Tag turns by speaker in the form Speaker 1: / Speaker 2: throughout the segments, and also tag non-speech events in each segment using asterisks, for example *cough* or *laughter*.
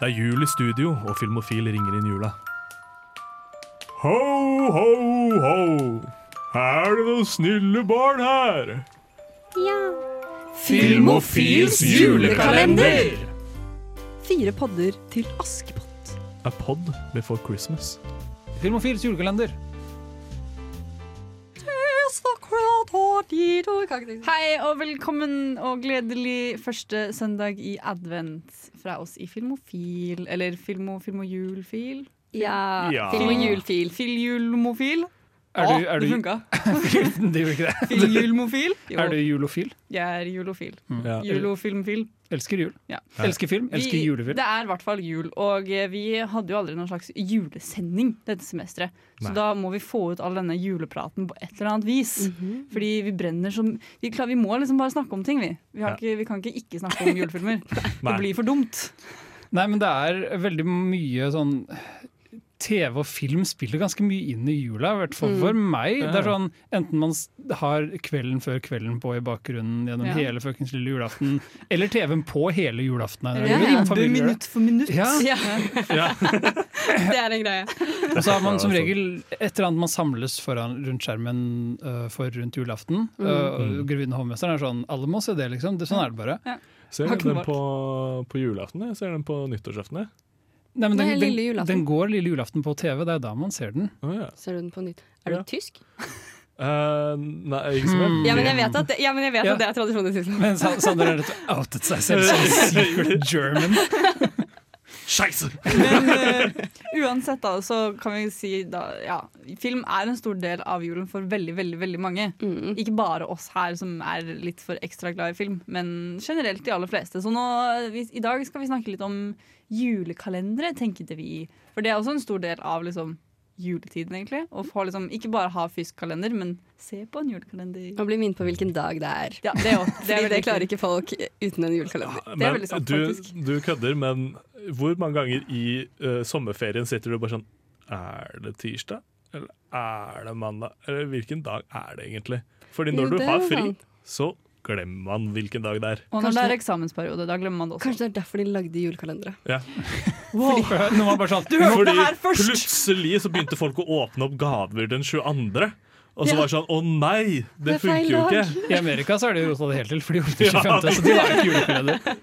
Speaker 1: Det er jul i studio, og Filmofil ringer inn jula. Ho, ho, ho! Er det noen snille barn her?
Speaker 2: Ja.
Speaker 3: Filmofils julekalender!
Speaker 2: Fire podder til Askepott.
Speaker 1: A pod before Christmas.
Speaker 3: Filmofils julekalender.
Speaker 4: Hei og velkommen og gledelig første søndag i advent fra oss i Filmofil. Eller Filmo, Filmojulfil?
Speaker 2: Ja.
Speaker 1: Ja.
Speaker 2: Film og julfil.
Speaker 4: Filjulmofil?
Speaker 3: Er du,
Speaker 4: Å,
Speaker 3: er
Speaker 4: det
Speaker 3: du,
Speaker 4: funka.
Speaker 3: *laughs* det gjorde ikke det.
Speaker 4: Filjulmofil?
Speaker 3: *laughs* Er du
Speaker 4: Jo,
Speaker 3: julofil?
Speaker 4: jeg er julofil.
Speaker 1: Ja.
Speaker 4: Julofilmfil.
Speaker 3: Elsker jul.
Speaker 4: Ja.
Speaker 3: Elsker film. Elsker
Speaker 4: Vi-
Speaker 3: julefilm.
Speaker 4: Det er i hvert fall jul, og eh, vi hadde jo aldri noen slags julesending dette semesteret. Så
Speaker 1: Nei.
Speaker 4: da må vi få ut all denne julepraten på et eller annet vis. Fordi vi brenner som vi, klar, vi må liksom bare snakke om ting, vi. Vi, har
Speaker 1: Ja.
Speaker 4: ikke, vi kan ikke ikke snakke om julefilmer.
Speaker 1: Nei.
Speaker 4: Det blir for dumt.
Speaker 3: Nei, men det er veldig mye sånn TV og film spiller ganske mye inn i jula, i hvert
Speaker 4: Mm.
Speaker 3: fall for meg. Det er sånn, Enten man s- har Kvelden før kvelden på i bakgrunnen gjennom
Speaker 4: Ja.
Speaker 3: hele fuckings lille julaften, eller TV-en på hele julaften. er det
Speaker 2: Ja,
Speaker 3: vel
Speaker 2: ja.
Speaker 3: i familier?
Speaker 4: for minutt. *laughs*
Speaker 3: Ja.
Speaker 2: Ja. *laughs* det er en greie.
Speaker 3: Og så har man
Speaker 1: Ja,
Speaker 3: som
Speaker 1: sant.
Speaker 3: regel et eller annet man samles foran rundt skjermen øh, for rundt julaften. Mm. og Grevinne og hovmesteren er sånn Alle må se det, liksom. Det, sånn er det bare.
Speaker 1: Ser
Speaker 4: Har ikke
Speaker 1: den
Speaker 4: noe
Speaker 1: på, på julaften? Jeg ser den på nyttårsaften. jeg.
Speaker 3: Nei, men
Speaker 2: Nei,
Speaker 3: den,
Speaker 2: lille
Speaker 3: den,
Speaker 2: julaften.
Speaker 3: den går lille julaften på TV, det er da man ser den.
Speaker 1: Å, ja.
Speaker 2: Ser du den på nytt? Er du
Speaker 1: Ja.
Speaker 2: tysk?
Speaker 1: Eh, nei, ikke som
Speaker 3: Hmm.
Speaker 2: Mm. Ja,
Speaker 1: jeg vet.
Speaker 2: men jeg vet at det, ja, men jeg vet
Speaker 3: Ja.
Speaker 2: at det er tradisjon i Tyskland.
Speaker 3: Men Sa- Sander har rett og outet seg selv som
Speaker 1: *laughs*
Speaker 3: secret German.
Speaker 1: Scheisse!
Speaker 4: Men eh, uansett, da, så kan vi si da Ja, film er en stor del av julen for veldig, veldig, veldig mange.
Speaker 2: Mm.
Speaker 4: Ikke bare oss her som er litt for ekstra glad i film, men generelt de aller fleste. Så nå, vi, i dag skal vi snakke litt om julekalendere, tenkte vi. For det er også en stor del av liksom, juletiden, egentlig. Å få liksom, ikke bare ha fysisk kalender, men se på en julekalender.
Speaker 2: Og bli minnet på hvilken dag det er.
Speaker 4: Ja, det òg.
Speaker 2: Det, det klarer ikke folk uten en julekalender.
Speaker 4: Det er veldig sant,
Speaker 1: du,
Speaker 4: faktisk.
Speaker 1: du kødder, men hvor mange ganger i eh, sommerferien sitter du bare sånn Er det tirsdag? Eller er det mandag? Eller hvilken dag er det egentlig? Fordi når
Speaker 2: Jo,
Speaker 1: du
Speaker 2: det
Speaker 1: har
Speaker 2: er
Speaker 1: fri,
Speaker 2: sant.
Speaker 1: så glemmer man hvilken dag det er.
Speaker 4: Og når det er
Speaker 2: Kanskje-
Speaker 4: eksamensperiode, da glemmer man det også.
Speaker 2: Kanskje det er derfor de lagde julekalendere.
Speaker 1: Ja.
Speaker 4: Wow.
Speaker 3: Når man bare sånn
Speaker 4: Du hørte det
Speaker 1: Fordi
Speaker 4: her først!
Speaker 1: plutselig så begynte folk å åpne opp gaver den 22. Og så
Speaker 2: Ja.
Speaker 1: var det sånn Å nei, det,
Speaker 2: Det er feil
Speaker 1: funker jo
Speaker 2: dag.
Speaker 1: ikke!
Speaker 3: I Amerika så er det jo rota det helt til, for de gjorde det
Speaker 1: Ja.
Speaker 3: 25., så de har ikke julekalender.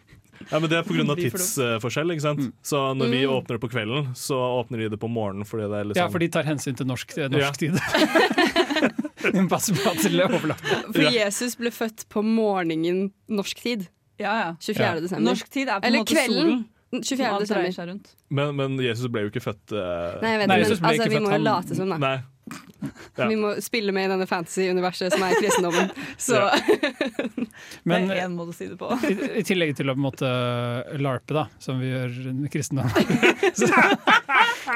Speaker 1: Ja, men Det er pga.
Speaker 4: Blir for dumt.
Speaker 1: tidsforskjell. ikke
Speaker 4: Mm.
Speaker 1: sant? Så når vi åpner det på kvelden, så åpner de det på morgenen. fordi det er liksom...
Speaker 3: Ja, for de tar hensyn til norsk,
Speaker 1: Ja.
Speaker 3: eh, norsk tid. *laughs* De passer på at det overlapper.
Speaker 2: For Jesus ble født på morgenen norsk tid.
Speaker 4: Ja, ja.
Speaker 2: 24.
Speaker 3: Ja.
Speaker 2: desember.
Speaker 4: Norsk tid er på en
Speaker 2: Eller
Speaker 4: måte solen.
Speaker 2: kvelden.
Speaker 4: som
Speaker 2: 24.
Speaker 4: alt
Speaker 2: desember.
Speaker 4: dreier seg *laughs* rundt.
Speaker 1: Men, men Jesus ble jo ikke født eh,
Speaker 2: Nei, jeg vet
Speaker 3: Nei,
Speaker 2: det, men
Speaker 3: Jesus ble
Speaker 2: altså,
Speaker 3: ikke
Speaker 2: vi
Speaker 3: født,
Speaker 2: må jo
Speaker 3: han-
Speaker 2: late som, da.
Speaker 1: nei. ja.
Speaker 2: Vi må spille med i denne fantasy-universet som er kristendommen. Så
Speaker 1: Ja.
Speaker 3: Men
Speaker 4: det er én måte å si det på.
Speaker 3: I, I tillegg til å på en måte larpe, da, som vi gjør med kristendom. *laughs*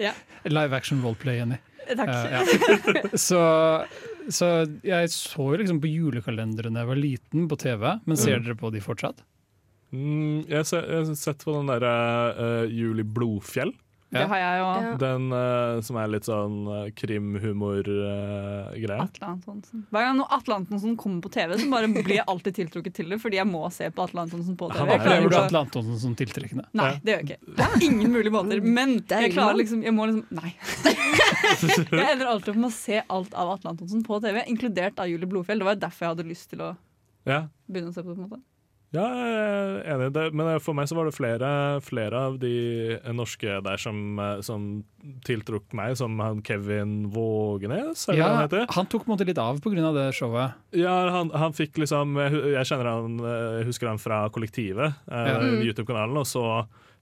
Speaker 2: Ja.
Speaker 3: Live action roleplay, Jenny.
Speaker 4: *laughs* Takk.
Speaker 3: Eh, ja.
Speaker 4: *laughs*
Speaker 3: så, så jeg så jo liksom på julekalenderen da jeg var liten, på TV. Men ser dere på de fortsatt?
Speaker 1: Mm, jeg, se, jeg har sett på den derre eh, Juli Blodfjell.
Speaker 4: Det har jeg og
Speaker 2: Ja.
Speaker 1: Den eh, som er litt sånn eh, krimhumor-greie.
Speaker 4: Atle Antonsen. Hver gang noe Atle Antonsen kommer på TV, så bare blir jeg alltid tiltrukket til det, fordi jeg må se på Atle Antonsen på TV.
Speaker 1: Han er-
Speaker 4: Jeg klarer
Speaker 3: Opplever du
Speaker 4: ikke å-
Speaker 3: Atle Antonsen som tiltrekkende?
Speaker 4: Nei, det gjør jeg ikke. På ingen mulige *laughs* måter. *laughs* Men jeg klarer liksom Jeg må liksom Nei. Jeg ender alltid opp med å se alt av Atle Antonsen på TV, inkludert av Julie Blodfjell. Det var jo derfor jeg hadde lyst til å
Speaker 1: ja.
Speaker 4: begynne å se på det. på en måte
Speaker 1: ja, jeg er enig. i Det, men eh, for meg så var det flere, flere av de eh, norske der som, eh, som tiltrukk meg, som han Kevin Vågenes, eller
Speaker 3: Ja,
Speaker 1: hva han heter.
Speaker 3: han tok på en måte litt av pga. det showet.
Speaker 1: Ja, han, han fikk liksom Jeg hu- jeg kjenner han, eh, jeg husker han fra Kollektivet, eh,
Speaker 3: Ja.
Speaker 2: Mm.
Speaker 1: YouTube-kanalen, og så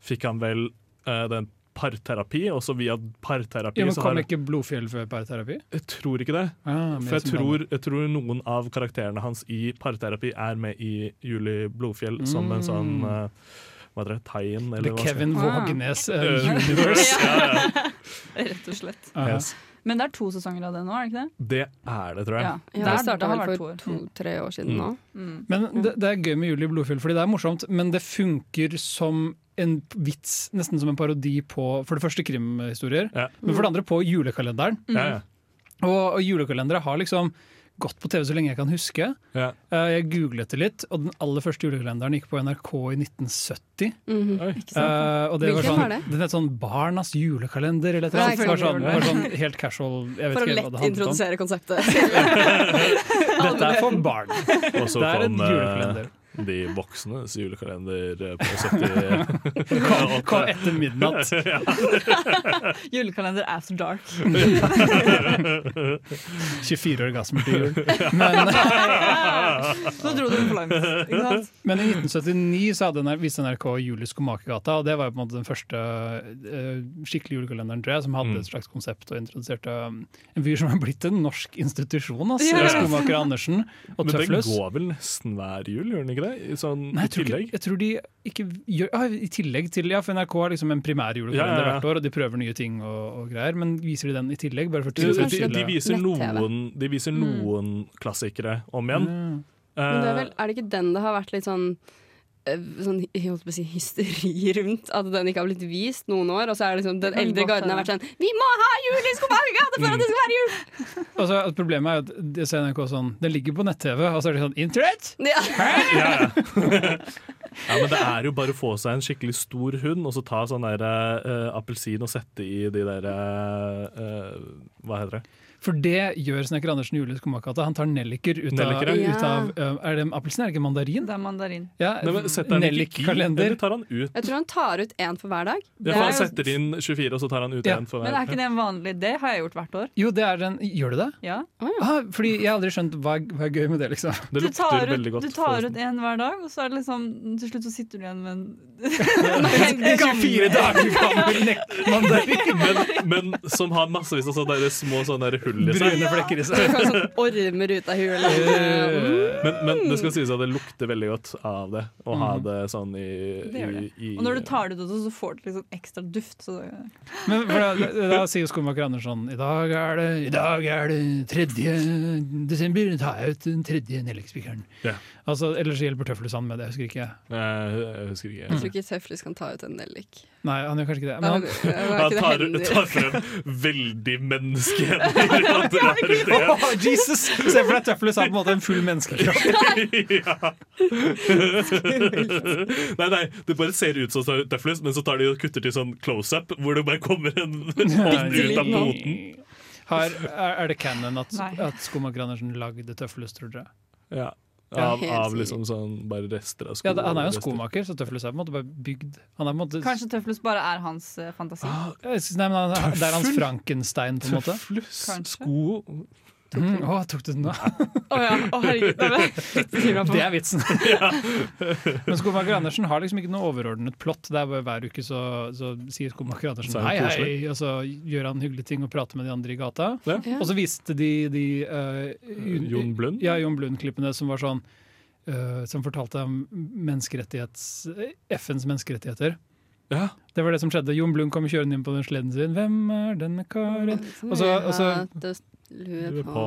Speaker 1: fikk han vel eh, den parterapi, og så via parterapi
Speaker 3: Ja, men
Speaker 1: så
Speaker 3: Kom
Speaker 1: har,
Speaker 3: ikke Blodfjell før parterapi?
Speaker 1: Jeg tror ikke det.
Speaker 3: Ah, men
Speaker 1: For jeg
Speaker 3: som band.
Speaker 1: tror, jeg tror noen av karakterene hans i parterapi er med i Juli Blodfjell som en sånn eh, Hva heter det? Tie-in? eller hva
Speaker 3: Mm. The
Speaker 1: skal jeg-
Speaker 3: Kevin
Speaker 2: Ah.
Speaker 3: Vågenes eh,
Speaker 1: Eh,
Speaker 3: *laughs* Universe.
Speaker 1: Ja, ja.
Speaker 4: Rett og slett.
Speaker 3: Ah, ja.
Speaker 1: Yes.
Speaker 4: Men det er to sesonger av det nå, er det ikke det?
Speaker 1: Det er det, tror jeg.
Speaker 4: Ja.
Speaker 2: Ja,
Speaker 4: Der-
Speaker 2: det starta
Speaker 4: det har
Speaker 2: vel
Speaker 4: vært
Speaker 2: for
Speaker 4: to år.
Speaker 2: to-tre år siden nå.
Speaker 4: Mm.
Speaker 3: Men det, det er gøy med Julie Blodfjell, fordi det er morsomt, men det funker som en vits, nesten som en parodi på for det første krimhistorier,
Speaker 1: Ja.
Speaker 4: Mm.
Speaker 3: men for det andre på julekalenderen.
Speaker 1: Ja, ja.
Speaker 3: Og, og julekalendere har liksom gått på TV så lenge jeg kan huske.
Speaker 1: Ja.
Speaker 3: Eh, Jeg googlet det litt, og den aller første julekalenderen gikk på NRK i 1970.
Speaker 2: Mhm.
Speaker 1: Oi.
Speaker 4: Ikke sant?
Speaker 3: Eh, og det var
Speaker 2: Hvilken
Speaker 3: sånn,
Speaker 2: var det?
Speaker 3: Den het sånn Barnas julekalender eller et eller annet.
Speaker 2: Ja,
Speaker 3: Det var
Speaker 2: ikke sant.
Speaker 3: sånn, det var sånn helt casual. Jeg
Speaker 2: For å
Speaker 3: vet ikke helt hva
Speaker 2: lett
Speaker 3: det handlet om.
Speaker 2: introdusere konseptet.
Speaker 4: *laughs*
Speaker 3: Dette er for barn.
Speaker 1: Og så
Speaker 3: *laughs* Det er en
Speaker 1: kom eh,
Speaker 3: julekalender.
Speaker 1: de voksnes julekalender eh, på 70
Speaker 3: Kom, kom etter
Speaker 1: *laughs*
Speaker 3: midnatt.
Speaker 4: Julekalender after dark.
Speaker 3: 24 orgasmer til jul. Men,
Speaker 4: Så dro du den for langt. Ikke sant?
Speaker 3: men i 1979 så hadde, NR- viste NRK Juli Skomakergata, og det var jo på en måte den første eh, skikkelig julekalenderen tror jeg, som hadde
Speaker 1: Mm.
Speaker 3: et slags konsept og introduserte um, en fyr som har blitt en norsk institusjon. Altså,
Speaker 2: Ja.
Speaker 3: Skomaker Andersen og
Speaker 1: Men den
Speaker 3: Tøflus.
Speaker 1: går vel nesten hver jul, gjør den ikke det? I Sånn, I
Speaker 3: Nei, jeg tror, ikke,
Speaker 1: tillegg.
Speaker 3: jeg tror de ikke gjør ja, I tillegg til Ja, for NRK har liksom en primær
Speaker 1: Ja,
Speaker 3: julekalender
Speaker 1: ja, ja.
Speaker 3: hvert år, og de prøver nye ting og, og greier, men viser de den i tillegg? Bare for å
Speaker 1: De, de,
Speaker 3: tilfredsstille-
Speaker 1: de, viser
Speaker 2: Nett-TV.
Speaker 1: noen, de viser noen klassikere om igjen.
Speaker 3: Mm.
Speaker 2: Men det er,
Speaker 1: Eh,
Speaker 2: vel, er det ikke den det har vært litt sånn eh, Sånn, jeg holdt på å si hysteri rundt at den ikke har blitt vist noen år. Og så er det liksom den
Speaker 4: Det kan
Speaker 2: eldre
Speaker 4: godt
Speaker 2: garden har vært
Speaker 4: hende.
Speaker 2: sånn Vi må ha jul i
Speaker 1: Eh,
Speaker 2: Skomakergata
Speaker 1: mm.
Speaker 2: for at det skal være jul!
Speaker 3: Og så at Altså, Problemet er jo at det ser NRK sånn Den ligger på nett-TV, og så er det sånn Internett!
Speaker 2: *laughs* Ja.
Speaker 1: ja, *laughs* ja. ja, men det er jo bare å få seg en skikkelig stor hund, og så ta sånn der eh, appelsin og sette i de der eh, Hva heter det?
Speaker 3: For det gjør Snekker Andersen Julius Skomakata. Han tar nelliker ut av,
Speaker 1: Nelliker,
Speaker 2: ja.
Speaker 3: ut av øh, Er det appelsin, er det ikke mandarin?
Speaker 4: Det er mandarin.
Speaker 3: Ja,
Speaker 1: Nei, men setter han ikke i,
Speaker 3: Nellikkalender.
Speaker 1: Eller tar han ut?
Speaker 2: Jeg tror han tar ut én for hver dag.
Speaker 1: Ja, for han
Speaker 4: Det er jo-
Speaker 1: setter inn 24, og så tar han ut
Speaker 3: Ja.
Speaker 1: én for
Speaker 4: Men er ikke
Speaker 1: hver.
Speaker 4: det en vanlig? Det har jeg gjort hvert år.
Speaker 3: Jo, det er en Gjør du det?
Speaker 4: Ja.
Speaker 3: Ah, fordi jeg har aldri skjønt hva, hva er gøy med det,
Speaker 1: *laughs*
Speaker 3: liksom.
Speaker 1: Det
Speaker 4: Du tar,
Speaker 1: lukter
Speaker 4: ut,
Speaker 1: veldig godt.
Speaker 4: du tar
Speaker 1: forresten.
Speaker 4: ut en hver dag, og så er det liksom til slutt så sitter du igjen med en
Speaker 1: *laughs*
Speaker 3: dager *laughs* gammel mandarin!
Speaker 1: men, men som har massevis av sånne der små sånne der hull i seg.
Speaker 3: Brune flekker i
Speaker 2: Det
Speaker 3: seg.
Speaker 2: kommer sånn ormer ut av huet. Eller,
Speaker 3: Øh,
Speaker 1: Men, men det skal sies at det lukter veldig godt av det, å ha det sånn i,
Speaker 4: Det gjør
Speaker 1: i,
Speaker 4: det.
Speaker 1: i
Speaker 4: Og når du tar det ut, også, så får du liksom ekstra duft. Så
Speaker 3: Men for da, da sier skomaker Andersson I dag er det I dag er det 3. desember, tar jeg ut den tredje nellikspikeren.
Speaker 1: Ja.
Speaker 3: Altså, ellers hjelper Tøffelus han med det, jeg husker ikke.
Speaker 1: Eh, Jeg husker ikke.
Speaker 2: jeg tror ikke Tøflis kan ta ut en nellik.
Speaker 3: Nei, han gjør kanskje ikke det. Men
Speaker 2: Han
Speaker 3: han,
Speaker 1: Han tar,
Speaker 2: tar
Speaker 1: tar frem veldig menneskehender og drar ut det.
Speaker 3: Åh, Jesus! Se for deg Tøffelus er på en måte en full menneskekropp.
Speaker 1: ja. Nei, nei, det bare ser ut som tøflus, men så tar de og kutter til sånn close-up, hvor det bare kommer en hånd ut av poten.
Speaker 3: Har, er, er det canon at,
Speaker 4: Nei.
Speaker 3: at Skomaker Andersen lagde Tøffelus, tror dere?
Speaker 1: Ja.
Speaker 3: Ja,
Speaker 1: Av,
Speaker 2: helt
Speaker 1: av
Speaker 2: sikkert.
Speaker 1: liksom sånn bare rester av sko.
Speaker 3: Ja, det, han er jo en
Speaker 1: rester.
Speaker 3: skomaker, så Tøffelus er på en måte bare bygd han er på en måte,
Speaker 4: Kanskje Tøflus bare er hans eh, fantasi.
Speaker 1: Ah,
Speaker 3: Jeg synes- Nei, men han, Det er hans
Speaker 1: Tøffel?
Speaker 3: Frankenstein, på en måte.
Speaker 1: Tøflus,
Speaker 4: Kanskje.
Speaker 1: sko
Speaker 3: Mm, å, tok du den da?
Speaker 2: Å ja, å herregud. da ble jeg litt
Speaker 1: *laughs*
Speaker 2: bekymret for
Speaker 3: *laughs* Det
Speaker 2: meg.
Speaker 3: er vitsen. Men Skomaker Andersen har liksom ikke noe overordnet plott. Det er bare Hver uke så, så sier Skomaker Andersen
Speaker 1: Så er
Speaker 3: hei,
Speaker 1: han
Speaker 3: hei, og så gjør han hyggelige ting og prater med de andre i gata.
Speaker 1: Ja.
Speaker 2: Ja.
Speaker 3: Og så viste de, de eh, un-
Speaker 1: Jon Blund?
Speaker 3: Ja, Jon Blund-klippene som var sånn eh, Som fortalte om menneskerettighets, FNs menneskerettigheter.
Speaker 1: Ja.
Speaker 3: Det var det som skjedde. Jon Blund kom kjørende inn på den sleden sin. 'Hvem er denne karen?' Og så- og så-
Speaker 2: Lue på
Speaker 1: På.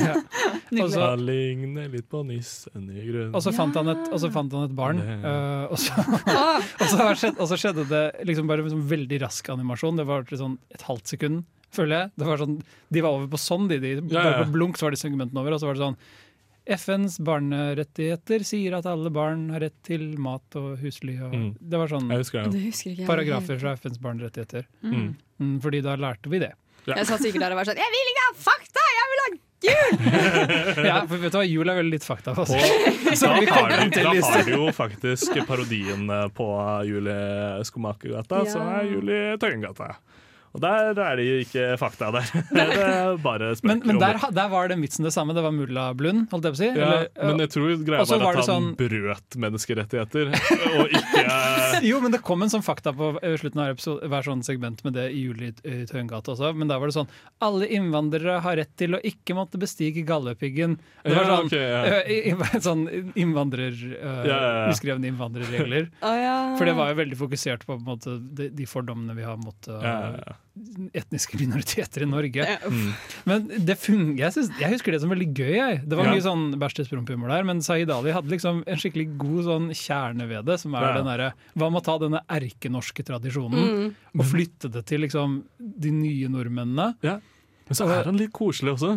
Speaker 3: Ja. Altså- Og så,
Speaker 1: Jeg ligner litt på nissen i grunnen.
Speaker 3: og, så fant han et, og så fant han et barn,
Speaker 1: Det-
Speaker 3: eh, og, så,
Speaker 2: Å,
Speaker 3: og, så skjedde, og så skjedde det liksom bare en sånn veldig rask animasjon. Det var til sånn et halvt sekund, føler jeg. Det var sånn, de var over på sånn, de. de
Speaker 1: Ja, ja.
Speaker 3: Bare på blunk så var de segmentene over, og så var det sånn FNs barnerettigheter sier at alle barn har rett til mat og husly og
Speaker 1: Mm.
Speaker 3: Det var sånn
Speaker 1: Jeg husker det.
Speaker 2: det husker ikke jeg.
Speaker 3: paragrafer fra FNs barnerettigheter.
Speaker 1: Mm.
Speaker 3: Mm, fordi da lærte vi
Speaker 1: *laughs*
Speaker 3: det.
Speaker 2: Jeg satt sikkert der og var sånn Jeg vil ikke ha fakta! Jeg vil ha
Speaker 3: Ja, for vet du hva, Jul er veldig litt fakta. Altså. *laughs*
Speaker 1: Og
Speaker 3: Så
Speaker 1: da
Speaker 3: vi
Speaker 1: har,
Speaker 3: kommer
Speaker 1: du,
Speaker 3: til
Speaker 1: da
Speaker 3: lista.
Speaker 1: har du jo faktisk parodien eh, på Julie Skomakergata,
Speaker 2: Ja.
Speaker 1: som er Julie Tøyengata. Og der er det jo ikke fakta der. *laughs* Det er bare
Speaker 3: Men,
Speaker 1: spøker
Speaker 3: men
Speaker 1: om
Speaker 3: der,
Speaker 1: det.
Speaker 3: der var den vitsen det samme. Det var mulla Blund, holdt jeg på å si.
Speaker 1: ja,
Speaker 3: Eller,
Speaker 1: men jeg tror greia
Speaker 3: Og så
Speaker 1: var at
Speaker 3: var det
Speaker 1: han
Speaker 3: sånn-
Speaker 1: brøt menneskerettigheter, og ikke
Speaker 3: jo, men det kom en sånn fakta på eh, slutten av hver episode- hver sånn segment med det i Juli i Tøyengata også. Men da var det sånn Alle innvandrere har rett til å ikke måtte bestige Galdhøpiggen. *laughs* Det var
Speaker 1: Ja,
Speaker 3: sånn,
Speaker 1: ok,
Speaker 3: *laughs*
Speaker 1: ja.
Speaker 3: eh, i- i- sånn innvandrer... eh,
Speaker 1: Ja, ja, ja.
Speaker 3: Uskrevne innvandrerregler.
Speaker 2: Å ja.
Speaker 3: For det var jo veldig fokusert på, på en måte, de, de fordommene vi har mot eh,
Speaker 1: ja, ja, ja.
Speaker 3: etniske minoriteter i Norge.
Speaker 2: Ja, uff.
Speaker 1: Mm.
Speaker 3: Men det fung- jeg, synes, jeg husker det som veldig gøy. Jeg. Det var
Speaker 1: Ja.
Speaker 3: mye sånn bæsj-til-promp-humor der, men Saeed Ali hadde liksom en skikkelig god sånn kjerne ved det, som er
Speaker 1: Ja.
Speaker 3: den derre Hva med å ta denne erkenorske tradisjonen
Speaker 2: Mm.
Speaker 3: og flytte det til liksom de nye nordmennene?
Speaker 1: Men så er han litt koselig også.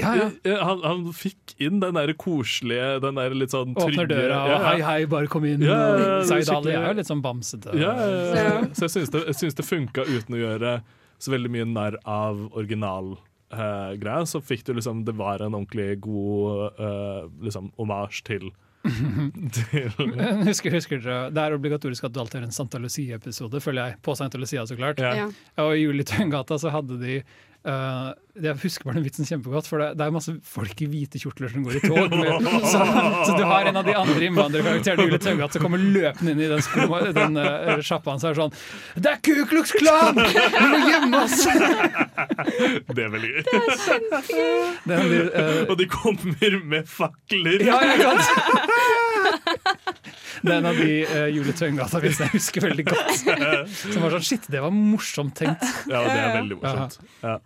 Speaker 3: Ja, ja.
Speaker 1: Eh, Han, han fikk inn den der koselige, den der litt sånn trygge
Speaker 3: Åpner døra og
Speaker 1: ja,
Speaker 3: hei, hei, bare kom inn.
Speaker 1: Ja, ja, ja, det er
Speaker 3: Zaid Ali
Speaker 1: skikkelig-
Speaker 3: er jo litt sånn bamsete.
Speaker 1: Ja, ja, ja.
Speaker 2: Ja.
Speaker 1: Så jeg syns det, jeg syns det funka uten å gjøre så veldig mye narr av originalgreia. greia så fikk du liksom Det var en ordentlig god eh, liksom omasj
Speaker 3: *laughs*
Speaker 1: til, til
Speaker 3: *laughs* Husker, husker dere, Det er obligatorisk at du alltid har en Santa Lucia-episode, føler jeg. På Santa Lucia, så klart.
Speaker 1: ja.
Speaker 2: Ja.
Speaker 3: Og i Juletøyengata så hadde de eh, Jeg husker bare den vitsen kjempegodt, for det, det er masse folk i hvite kjortler som går i tog. Med, så, så du har en av de andre innvandrerkarakterene i Jule Tøyengata som kommer løpende inn i den, sko, den eh, sjappa hans og er sånn Det er Ku Klux Klan! Vi må gjemme oss!
Speaker 1: Det er veldig gøy.
Speaker 3: Den, eh,
Speaker 1: Og de kommer med fakler!
Speaker 3: ja, ja, ikke sant? Det er en av de uh, Jule Tøyengata-vitsene jeg husker veldig godt. Som var sånn Shit, det var morsomt tenkt.
Speaker 1: Ja, det er veldig morsomt. Ja.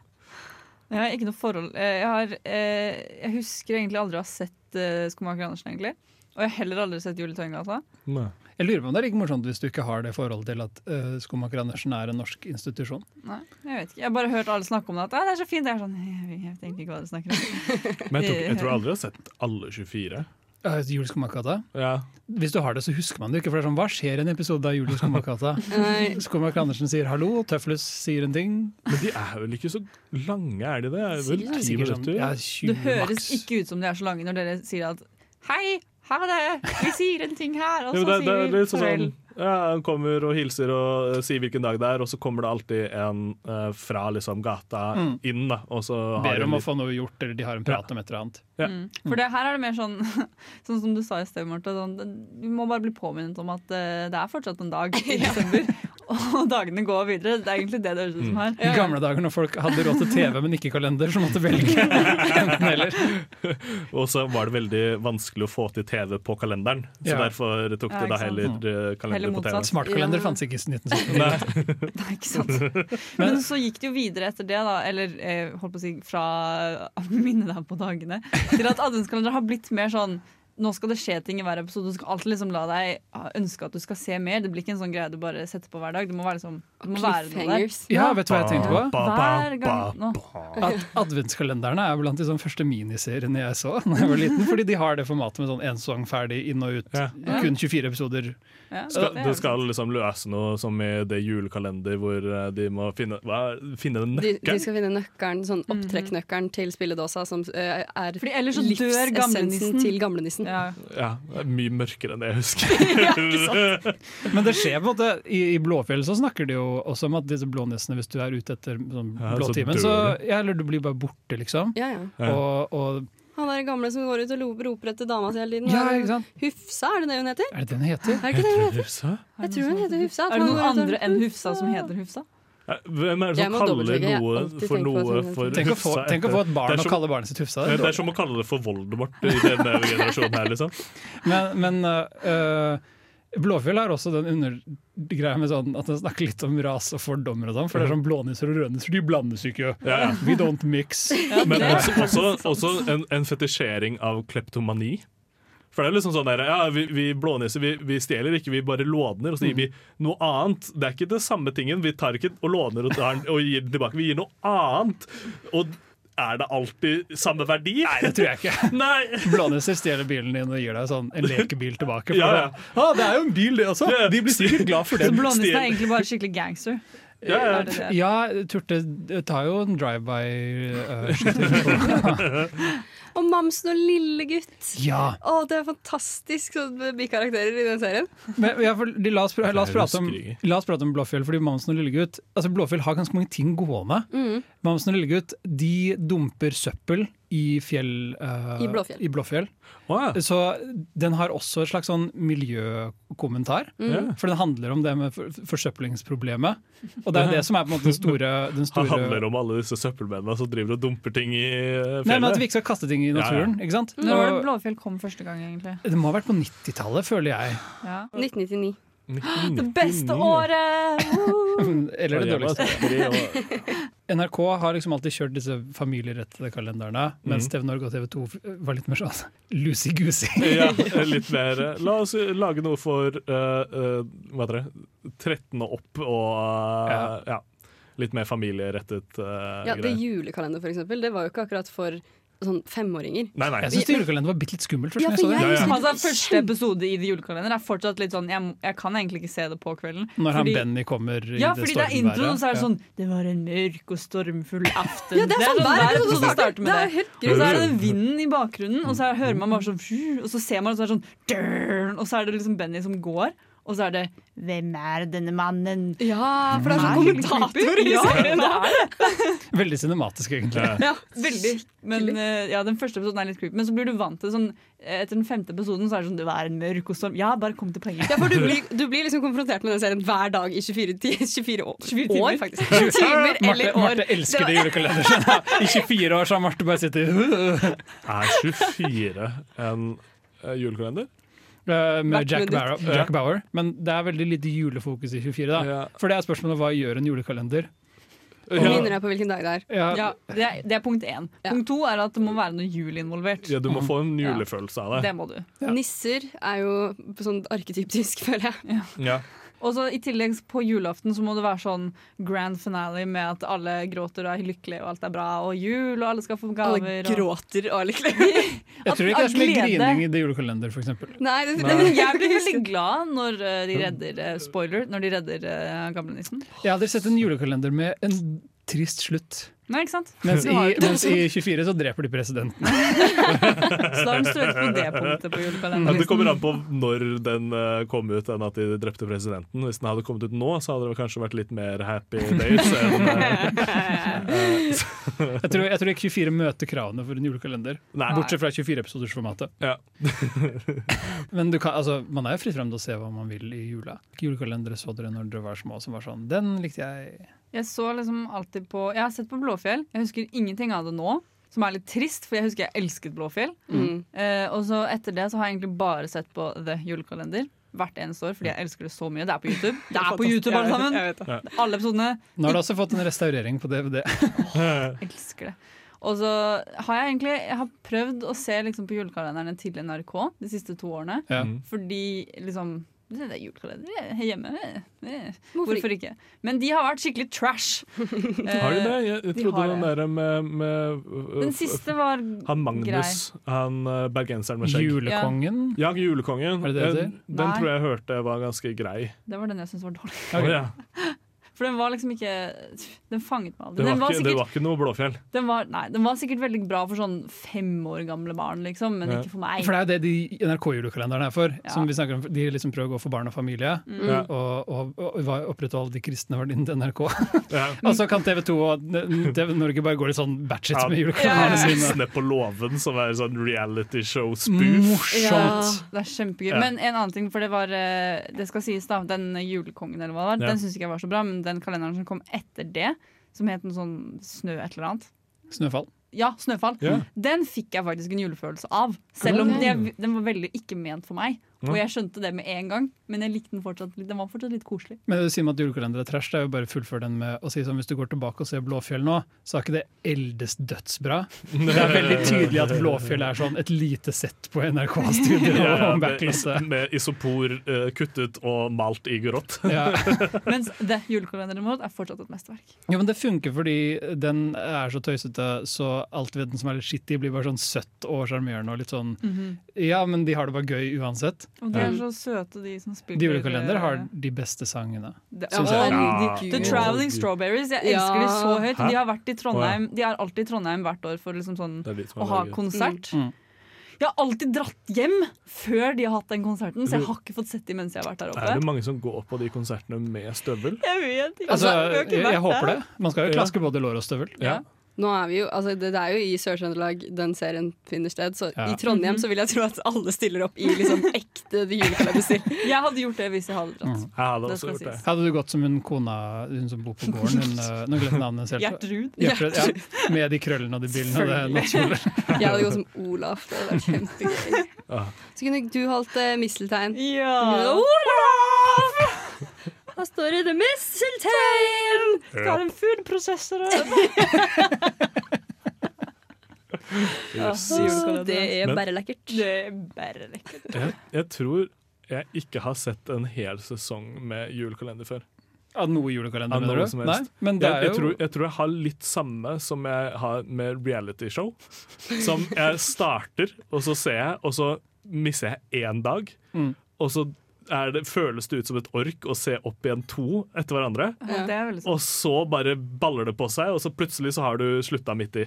Speaker 4: Jeg har ikke noe forhold. Eh, Jeg, har, eh, jeg husker egentlig aldri å ha sett eh, Skomaker Andersen, egentlig. Og jeg har heller aldri sett Jule Tøyengata.
Speaker 1: Nei.
Speaker 3: Jeg lurer på om det er like morsomt hvis du ikke har det forholdet til at uh, Skomaker Andersen er en norsk institusjon.
Speaker 4: Nei, jeg vet ikke. Jeg har bare hørt alle snakke om det. At «Ah, det er så fint. Jeg er sånn, jeg vet egentlig ikke hva dere snakker
Speaker 1: *laughs*
Speaker 4: om.
Speaker 1: Men jeg tror, jeg tror aldri jeg har sett alle 24.
Speaker 3: Uh, Jul Skomakergata.
Speaker 1: Ja.
Speaker 3: Hvis du har det, så husker man det ikke. For det er sånn, Hva skjer i en episode av Jul i Skomakergata?
Speaker 2: *laughs* Nei.
Speaker 3: Skomaker Andersen sier hallo, Tøflus sier en ting.
Speaker 1: Men de er vel ikke så lange, er de det? Er det
Speaker 3: Det er
Speaker 1: vel ti
Speaker 3: sikkert sånn,
Speaker 1: minutter?
Speaker 3: ja,
Speaker 4: Det
Speaker 3: 20
Speaker 4: høres
Speaker 3: maks.
Speaker 4: ikke ut som de er så lange når dere sier at hei, ha det, vi sier en ting her, og
Speaker 1: Ja,
Speaker 4: så
Speaker 1: men det, det
Speaker 4: sier
Speaker 1: er
Speaker 4: vi
Speaker 1: litt sånn
Speaker 4: farvel.
Speaker 1: sånn, ja, Han kommer og hilser og eh, sier hvilken dag det er, og så kommer det alltid en eh, fra liksom gata
Speaker 3: Mm.
Speaker 1: inn. da og så har
Speaker 3: Ber om
Speaker 1: de
Speaker 3: å få noe gjort, eller de har en prat om et eller annet.
Speaker 1: Ja.
Speaker 4: Mm. For det, her er det mer sånn *laughs* Sånn som du sa i sted, Marte. Sånn, du må bare bli påminnet om at eh, det er fortsatt en dag
Speaker 1: *laughs*
Speaker 4: i desember. Og dagene går videre. Det er egentlig det det høres ut som her.
Speaker 3: I gamle dager når folk hadde råd til TV, men ikke kalender, så måtte velge enten eller.
Speaker 1: litt- Og så var det veldig vanskelig å få til TV på kalenderen, så
Speaker 3: Ja.
Speaker 1: derfor tok de
Speaker 4: Ja, ikke
Speaker 1: da
Speaker 4: sant.
Speaker 1: heller eh, kalender
Speaker 4: Heller
Speaker 1: på TV.
Speaker 4: motsatt.
Speaker 3: Smartkalender
Speaker 2: Ja.
Speaker 3: fantes ikke i 1979.
Speaker 4: Nei, *laughs* ikke sant. Men så gikk det jo videre etter det, da, eller eh, holdt på å si fra minne deg på dagene, til at adventskalenderen har blitt mer sånn nå skal det skje ting i hver episode. Du skal alltid liksom la deg ønske at du skal se mer. Det blir ikke en sånn greie du bare setter på hver dag. Det må være, liksom, det må være noe der.
Speaker 2: Cliffhangers.
Speaker 3: Ja, vet du hva jeg tenkte på?
Speaker 4: Hver gang nå.
Speaker 3: At Adventskalenderne er blant de sånn første miniseriene jeg så *laughs* da jeg var liten. Fordi de har det formatet med sånn én sesong ferdig, inn og ut.
Speaker 1: Ja.
Speaker 3: Kun 24 episoder.
Speaker 4: Ja,
Speaker 1: Skal,
Speaker 4: det er
Speaker 1: du skal liksom løse noe som i det julekalender hvor eh, de må finne, hva, finne en
Speaker 2: De, de
Speaker 1: nøkkel.
Speaker 2: skal finne nøkkelen, sånn opptrekknøkkelen til spilledåsa, som eh, er
Speaker 4: Mhm. Fordi ellers så dør gamlenissen.
Speaker 2: til gamlenissen.
Speaker 4: ja.
Speaker 1: Ja, det er mye mørkere enn det jeg husker.
Speaker 3: *laughs* Men det skjer på en måte I, i Blåfjell så snakker de jo også om at disse blånissene, hvis du er ute etter sånn
Speaker 1: Ja, så
Speaker 3: blåtimen,
Speaker 1: dør
Speaker 3: så, ja, eller du blir bare borte, liksom.
Speaker 2: Ja, ja.
Speaker 1: *laughs* Ja.
Speaker 3: Og, og
Speaker 2: Han der gamle som går ut og lo- roper etter dama si hele tiden.
Speaker 3: Ja,
Speaker 2: Hva er det?
Speaker 3: ikke sant?
Speaker 2: Hufsa, er det det hun heter?
Speaker 3: Er det det den
Speaker 1: *laughs*
Speaker 3: heter?
Speaker 2: Er det ikke det? hun heter?
Speaker 1: Hufsa?
Speaker 2: Jeg tror hun heter Hufsa. at
Speaker 4: Er det
Speaker 2: han
Speaker 4: noen
Speaker 2: går ut og-
Speaker 4: andre enn Hufsa som heter Hufsa?
Speaker 1: Eh, Hvem er det
Speaker 2: Jeg
Speaker 1: som
Speaker 2: må
Speaker 1: kaller
Speaker 2: dobbeltsjekke, jeg har
Speaker 1: noe for
Speaker 2: alltid tenkt på sånn
Speaker 1: noe
Speaker 2: at hun-
Speaker 1: for
Speaker 3: Tenk å, få,
Speaker 1: Hufsa
Speaker 3: tenk
Speaker 1: etter-
Speaker 3: å få et
Speaker 1: Det
Speaker 3: barn
Speaker 1: er
Speaker 3: og
Speaker 1: som-
Speaker 3: kalle barnet sitt Hufsa.
Speaker 1: Det
Speaker 3: Det er
Speaker 1: er som å kalle det for Voldemort i denne generasjonen her, liksom.
Speaker 2: *laughs*
Speaker 3: Men, men øh, øh, Blåfjell har også den undergreia med sånn at den snakker litt om ras og fordommer og sånn, for det er sånn blånisser og rødnisser, de blandes ikke.
Speaker 1: Ja, ja.
Speaker 3: We don't mix.
Speaker 1: Men også, også, også en, en fetisjering av kleptomani. For det er liksom sånn der, ja, Vi, vi blånisser, vi, vi stjeler ikke, vi bare låner, og så gir
Speaker 2: Mm.
Speaker 1: vi noe annet. Det er ikke det samme tingen. Vi tar ikke og låner og, tar, den- og gir den tilbake. Vi gir noe annet. Og er det alltid samme verdi?
Speaker 3: Det tror jeg ikke. *laughs*
Speaker 1: Nei!
Speaker 3: Blånisser stjeler bilen din og gir deg sånn en lekebil tilbake. For
Speaker 1: Ja, ja.
Speaker 3: det- «Ah, det er jo en bil, det også!
Speaker 1: Ja.
Speaker 3: De blir sikkert glad
Speaker 1: *laughs*
Speaker 3: for
Speaker 4: Så
Speaker 3: den.
Speaker 4: Blånissen
Speaker 1: Stjel.
Speaker 4: er egentlig bare skikkelig gangster.
Speaker 1: Ja, ja.
Speaker 4: Er det
Speaker 2: *laughs*
Speaker 4: det?
Speaker 3: Ja, Turte tar jo en eh, drive-by-skyting.
Speaker 2: Og Mamsen og Lillegutt.
Speaker 3: *laughs* ja.
Speaker 2: Å, det er fantastisk sånn bikarakterer i den serien.
Speaker 3: Men, ja, for, de, la, oss, pra- la, oss
Speaker 1: Nei,
Speaker 3: prate om,
Speaker 1: husker jeg
Speaker 3: la oss prate om Blåfjell, fordi Mamsen og Lillegutt altså Blåfjell har ganske mange ting gående.
Speaker 4: Mhm.
Speaker 3: Mamsen og Lillegutt de dumper søppel i fjell eh,
Speaker 2: I Blåfjell.
Speaker 1: Wow.
Speaker 3: Så den har også et slags sånn miljøkommentar.
Speaker 2: Mm.
Speaker 1: Ja.
Speaker 3: For den handler om det med for- forsøplingsproblemet. Og det er det som er på en måte den store, den
Speaker 1: Det *laughs*
Speaker 3: store
Speaker 1: handler om alle disse søppelmennene som driver og dumper ting i eh,
Speaker 3: Nei, men At
Speaker 1: fjellet.
Speaker 3: vi ikke skal kaste ting i
Speaker 1: ja.
Speaker 3: naturen. ikke sant?
Speaker 4: Når var det
Speaker 3: Og-
Speaker 4: Blåfjell kom første gang, egentlig?
Speaker 3: det må ha vært på 90-tallet, føler jeg.
Speaker 4: Ja.
Speaker 2: 1999.
Speaker 4: Det beste året! Mm,
Speaker 3: Eller
Speaker 1: Jeg
Speaker 3: det
Speaker 1: var
Speaker 3: dårligste.
Speaker 1: tre år.
Speaker 3: NRK har liksom alltid kjørt disse familierettede kalenderne, mens TV Norge og TV 2 f- var litt mer sånn *laughs* loosey-goosey.
Speaker 1: Ja, litt mer eh, La oss eh, lage noe for eh, eh, Hva heter det? 13 og opp og eh, ja. Litt mer familierettet eh,
Speaker 2: Ja, det
Speaker 1: greier.
Speaker 2: julekalender, for eksempel, det var jo ikke akkurat for sånn femåringer.
Speaker 1: Nei, nei.
Speaker 3: Jeg syns julekalenderen var bitte litt skummelt. Først,
Speaker 2: Ja,
Speaker 3: når
Speaker 2: for
Speaker 3: jeg så
Speaker 1: Ja,
Speaker 2: jeg
Speaker 1: ja.
Speaker 2: husker
Speaker 4: Altså, Første episode i The julekalender er fortsatt litt sånn Jeg, jeg kan egentlig ikke se det på kvelden.
Speaker 3: det. Når han
Speaker 4: fordi-
Speaker 3: Benny kommer i
Speaker 4: Ja,
Speaker 3: det
Speaker 4: fordi det er introen, og så er
Speaker 3: Ja.
Speaker 4: det sånn Det var en mørk og stormfull aften.
Speaker 2: Ja, det er sånn hver
Speaker 4: episode
Speaker 2: episode
Speaker 4: starter
Speaker 2: starter
Speaker 4: med
Speaker 2: det.
Speaker 4: det.
Speaker 2: er helt
Speaker 4: Og så
Speaker 2: grusomt.
Speaker 4: er det den vinden i bakgrunnen, og så er- hører man bare sånn
Speaker 2: Mm.
Speaker 4: fju, Og så ser man, og så er det sånn dørn, Og så er det liksom Benny som går, og så er det 'Hvem er denne mannen?'
Speaker 2: Ja, for det er sånn
Speaker 4: Nei.
Speaker 2: kommentator i
Speaker 4: Ja, det
Speaker 2: serien.
Speaker 4: er det.
Speaker 3: Veldig cinematisk, egentlig.
Speaker 1: Ja.
Speaker 2: *laughs*
Speaker 4: Ja, veldig. Men eh, ja, den første episoden er litt creepy, men så blir du vant til det sånn eh, Etter den femte episoden så er det sånn 'Det var en mørk og storm'. Ja, bare kom til poenget.
Speaker 2: Ja, for du blir, du blir liksom konfrontert med den serien hver dag i 24, ti- 24 år,
Speaker 4: 24 timer.
Speaker 2: år, faktisk. Timer
Speaker 3: Marte,
Speaker 2: eller år.
Speaker 3: Marte elsker det julekalenderen.
Speaker 4: *laughs*
Speaker 3: I 24 år så har Marte bare sittet øh,
Speaker 1: Er 24 en eh, julekalender?
Speaker 3: med
Speaker 2: Hvert
Speaker 3: Jack
Speaker 2: minutt.
Speaker 3: Bauer, Jack Bauer. Men det er veldig lite julefokus i 24. da
Speaker 1: Ja.
Speaker 3: For det er spørsmålet hva gjør en julekalender?
Speaker 1: Ja.
Speaker 2: Minner deg på hvilken dag det er.
Speaker 3: Ja,
Speaker 4: *laughs* Ja, det er, det er punkt én.
Speaker 2: Ja.
Speaker 4: Punkt to er at det må være noe jul involvert.
Speaker 1: ja, du må få en julefølelse av det.
Speaker 4: Det må du.
Speaker 3: Ja.
Speaker 2: Nisser er jo sånn arketypisk, føler jeg.
Speaker 1: Ja.
Speaker 4: Og så I tillegg på julaften så må det være sånn grand finale med at alle gråter og er lykkelige og alt er bra, og jul, og alle skal få gaver.
Speaker 2: Alle
Speaker 4: og...
Speaker 2: gråter og er lykkelige.
Speaker 3: Jeg tror ikke det er så mye
Speaker 4: Av glede.
Speaker 3: grining i det julekalender, for eksempel
Speaker 2: *laughs* Nei, det, Mm. det,
Speaker 1: Nei.
Speaker 4: Jeg blir
Speaker 2: *laughs*
Speaker 4: veldig glad når eh, de redder eh, Spoiler, når de redder eh, gamlenissen.
Speaker 3: Jeg hadde sett en julekalender med en trist slutt.
Speaker 4: Nei, ikke
Speaker 1: *laughs*
Speaker 4: sant?
Speaker 3: Mens
Speaker 4: Du
Speaker 3: i,
Speaker 4: har jo-
Speaker 3: mens i 24 så dreper de presidenten.
Speaker 4: Så da har de strøket på det punktet på
Speaker 1: Men
Speaker 4: julekalenderen.
Speaker 1: det kommer an på når den eh, kom ut, enn at de drepte presidenten. Hvis den hadde kommet ut nå, så hadde det kanskje vært litt mer
Speaker 4: *laughs*
Speaker 1: happy days. Enn, eh,
Speaker 3: Jeg tror, jeg tror ikke 24 møter kravene for en julekalender.
Speaker 1: nei.
Speaker 3: Bortsett fra 24-episodersformatet.
Speaker 1: Ja.
Speaker 3: Men du kan, altså, man er jo fritt frem til å se hva man vil i jula. Julekalendere så dere når dere var små som var sånn. Den likte jeg.
Speaker 4: Jeg så liksom alltid på Jeg har sett på Blåfjell. Jeg husker ingenting av det nå, som er litt trist, for jeg husker jeg elsket Blåfjell.
Speaker 2: Mm.
Speaker 4: Eh, og så etter det så har jeg egentlig bare sett på The Julekalender hvert eneste år, fordi jeg elsker det så mye. Det er på YouTube. Det er på YouTube, alle sammen! Alle episodene.
Speaker 3: Nå har du også fått en restaurering på DVD.
Speaker 4: Elsker det. Og så har jeg egentlig jeg har prøvd å se liksom på julekalenderne til NRK de siste to årene.
Speaker 3: Ja.
Speaker 1: Mm.
Speaker 4: Fordi liksom Det er julekalender jeg er hjemme. eh, eh,
Speaker 2: Hvorfor
Speaker 4: Hvorfor
Speaker 2: ikke?
Speaker 4: ikke? Men de har vært skikkelig trash.
Speaker 1: Har de det? Jeg, jeg
Speaker 4: de
Speaker 1: trodde
Speaker 4: har
Speaker 1: den
Speaker 4: det.
Speaker 1: der med, med eh,
Speaker 4: Den siste var
Speaker 1: Han Magnus, han eh, bergenseren med skjegg.
Speaker 3: Julekongen.
Speaker 1: Ja, Julekongen.
Speaker 3: Er det det det
Speaker 1: den den
Speaker 4: Nei.
Speaker 1: tror jeg hørte var ganske grei.
Speaker 4: Det var den jeg syntes var dårlig. *laughs*
Speaker 3: Ok.
Speaker 1: Å, ja.
Speaker 4: For den var liksom ikke Den fanget meg aldri.
Speaker 1: det, var
Speaker 4: Den var,
Speaker 1: ikke, det
Speaker 4: sikkert,
Speaker 1: var ikke noe Blåfjell.
Speaker 4: den, var, nei, den var sikkert veldig bra for sånn fem år gamle barn, liksom, men
Speaker 1: Ja.
Speaker 4: ikke for meg.
Speaker 3: For det er jo det de NRK-julekalenderen er for.
Speaker 4: Ja.
Speaker 3: Som vi snakker om, De liksom prøver å gå for barn og familie.
Speaker 2: Mm.
Speaker 1: Ja,
Speaker 3: Og, og, og hva- opprettholde de kristne verdiene til NRK.
Speaker 1: ja.
Speaker 3: *laughs* Og så kan TV 2 og N- TV Norge bare gå litt sånn batchet
Speaker 1: Ja.
Speaker 3: med
Speaker 1: Han
Speaker 3: julekalenderne sine.
Speaker 1: Siste på låven, som er sånn reality show-spoof.
Speaker 4: Mm.
Speaker 3: Morsomt!
Speaker 4: Det er kjempegøy.
Speaker 1: Ja.
Speaker 4: Men en annen ting, for det var eh, Det skal sies, da. Den julekongen, eller hva det var,
Speaker 1: Ja.
Speaker 4: den syns ikke jeg var så bra, men den kalenderen som kom etter det, som het noe sånn Snø et eller annet.
Speaker 3: Snøfall.
Speaker 4: Ja, Snøfall.
Speaker 1: Ja.
Speaker 4: Den fikk jeg faktisk en julefølelse av. Selv om
Speaker 1: Mm.
Speaker 4: det, den var veldig ikke ment for meg.
Speaker 1: Ja.
Speaker 4: Og jeg skjønte det med en gang, men jeg likte den fortsatt litt. Den var fortsatt litt koselig.
Speaker 3: Men du sier med at julekalender er trash, det er jo bare å fullføre den med å si sånn hvis du går tilbake og ser Blåfjell nå, så er ikke det eldes dødsbra. Det er veldig tydelig at Blåfjell er sånn et lite sett på
Speaker 1: *laughs*
Speaker 3: NRK-studio
Speaker 1: Ja,
Speaker 3: *laughs*
Speaker 1: ja,
Speaker 3: og
Speaker 1: med, is
Speaker 3: backklasse.
Speaker 1: med isopor eh, kuttet og malt i grått.
Speaker 3: Ja.
Speaker 4: Mens The Julekalenderen vår er fortsatt et mesterverk.
Speaker 3: Jo, men det funker fordi den er så tøysete, så alt ved den som er litt skittig, blir bare sånn søtt og sjarmerende og litt sånn Ja, men de har det bare gøy uansett.
Speaker 4: Mhm. Og de er så søte, de som spiller
Speaker 3: De julekalender har de beste sangene.
Speaker 4: det,
Speaker 3: synes
Speaker 4: Å,
Speaker 3: jeg.
Speaker 4: herregud. The Traveling Strawberries. Jeg elsker de så høyt.
Speaker 1: Hæ?
Speaker 4: De har vært i Trondheim De er alltid i Trondheim hvert år for liksom sånn
Speaker 1: Det er de som
Speaker 4: å
Speaker 1: er
Speaker 4: ha
Speaker 1: laget.
Speaker 4: konsert.
Speaker 3: Mm. Mm.
Speaker 4: Jeg har alltid dratt hjem før de har hatt den konserten, så jeg har ikke fått sett de mens jeg har vært der
Speaker 1: Er det
Speaker 4: oppe.
Speaker 1: mange som går på de konsertene med støvel?
Speaker 4: Jeg vet ikke.
Speaker 3: Altså,
Speaker 4: har
Speaker 3: jeg,
Speaker 4: ikke vært
Speaker 3: jeg
Speaker 4: der.
Speaker 3: håper det. Man skal jo
Speaker 1: Ja.
Speaker 3: klaske både lår og støvel.
Speaker 4: Ja.
Speaker 2: Nå er vi jo, altså det, det er jo i Sør-Trøndelag den serien finner sted, så
Speaker 3: Ja.
Speaker 2: i Trondheim så vil jeg tro at alle stiller opp i liksom ekte julekalenderstil.
Speaker 4: Jeg hadde gjort det hvis jeg hadde dratt.
Speaker 1: Jeg hadde
Speaker 4: Det
Speaker 1: også
Speaker 4: skal
Speaker 1: gjort det.
Speaker 4: sies.
Speaker 3: Hadde du gått som hun kona hun som bor på gården
Speaker 4: *laughs*
Speaker 3: hun, øh, Nå glemte jeg navnet hennes helt.
Speaker 4: Gjertrud.
Speaker 3: Hjertrud, ja. Med de krøllene og de brillene og det nattkjoler.
Speaker 2: Jeg hadde gått som Olaf. Det hadde vært kjempegøy.
Speaker 1: Ja.
Speaker 2: Så kunne du holdt uh, misteltein.
Speaker 4: Ja.
Speaker 2: Olaf! Her står det 'misteltein'!
Speaker 1: Ja.
Speaker 4: en foodprosessor.
Speaker 1: Yes.
Speaker 2: Det er
Speaker 1: Men-
Speaker 2: bare lekkert.
Speaker 4: Det er bare lekkert.
Speaker 1: Jeg, jeg tror jeg ikke har sett en hel sesong med julekalender før.
Speaker 3: Av noe julekalender,
Speaker 1: Av noe
Speaker 3: mener du?
Speaker 1: som
Speaker 3: Nei,
Speaker 1: helst.
Speaker 3: men det
Speaker 1: Jeg,
Speaker 3: er
Speaker 1: jeg, tror,
Speaker 3: jo
Speaker 1: jeg tror jeg har litt samme som jeg har med realityshow. Som jeg starter, og så ser jeg, og så mister jeg én dag.
Speaker 3: Mm.
Speaker 1: Og så er det, føles det ut som et ork å se opp igjen to etter hverandre.
Speaker 4: Ja, det er veldig sant.
Speaker 1: Og så bare baller det på seg, og så plutselig så har du slutta midt i.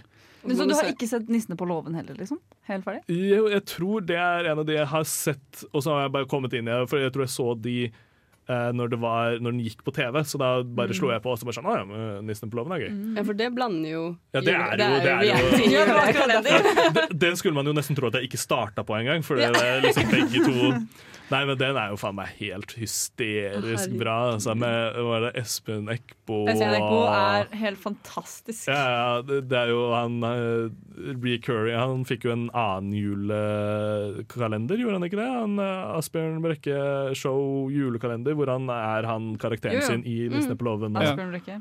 Speaker 4: Men Så du har ikke sett 'Nissene på låven' heller? liksom? Helt ferdig?
Speaker 1: Jo, jeg tror det er en av de jeg har sett, og så har jeg bare kommet inn i det. For jeg tror jeg så de eh, når, det var, når den gikk på TV, så da
Speaker 3: Mm.
Speaker 1: bare slo jeg på. Og så bare sånn, «Å ja, men Nissen på låven er gøy.
Speaker 2: Ja, for det blander jo
Speaker 1: Ja, det
Speaker 2: jule-
Speaker 1: er jo- det er jo-
Speaker 2: reality-
Speaker 4: Ja, det var akkurat
Speaker 2: julekalender.
Speaker 1: Det, det skulle man jo nesten tro at jeg ikke starta på engang, for det er liksom begge to Nei, men den er jo faen meg helt hysterisk
Speaker 2: Herregud.
Speaker 1: bra. Altså, med hva er det, Espen Eckbo
Speaker 4: Øystein Ekbo er
Speaker 1: og-
Speaker 4: helt fantastisk.
Speaker 1: ja, ja, det det er jo han uh, Curry, han fikk jo en annen julekalender, gjorde han ikke det? Han eh, Asbjørn Brekke show julekalender, hvor han er han karakteren
Speaker 4: Jo, jo.
Speaker 1: sin i Nissene på låven.
Speaker 3: Ja.
Speaker 4: Asbjørn Brekke.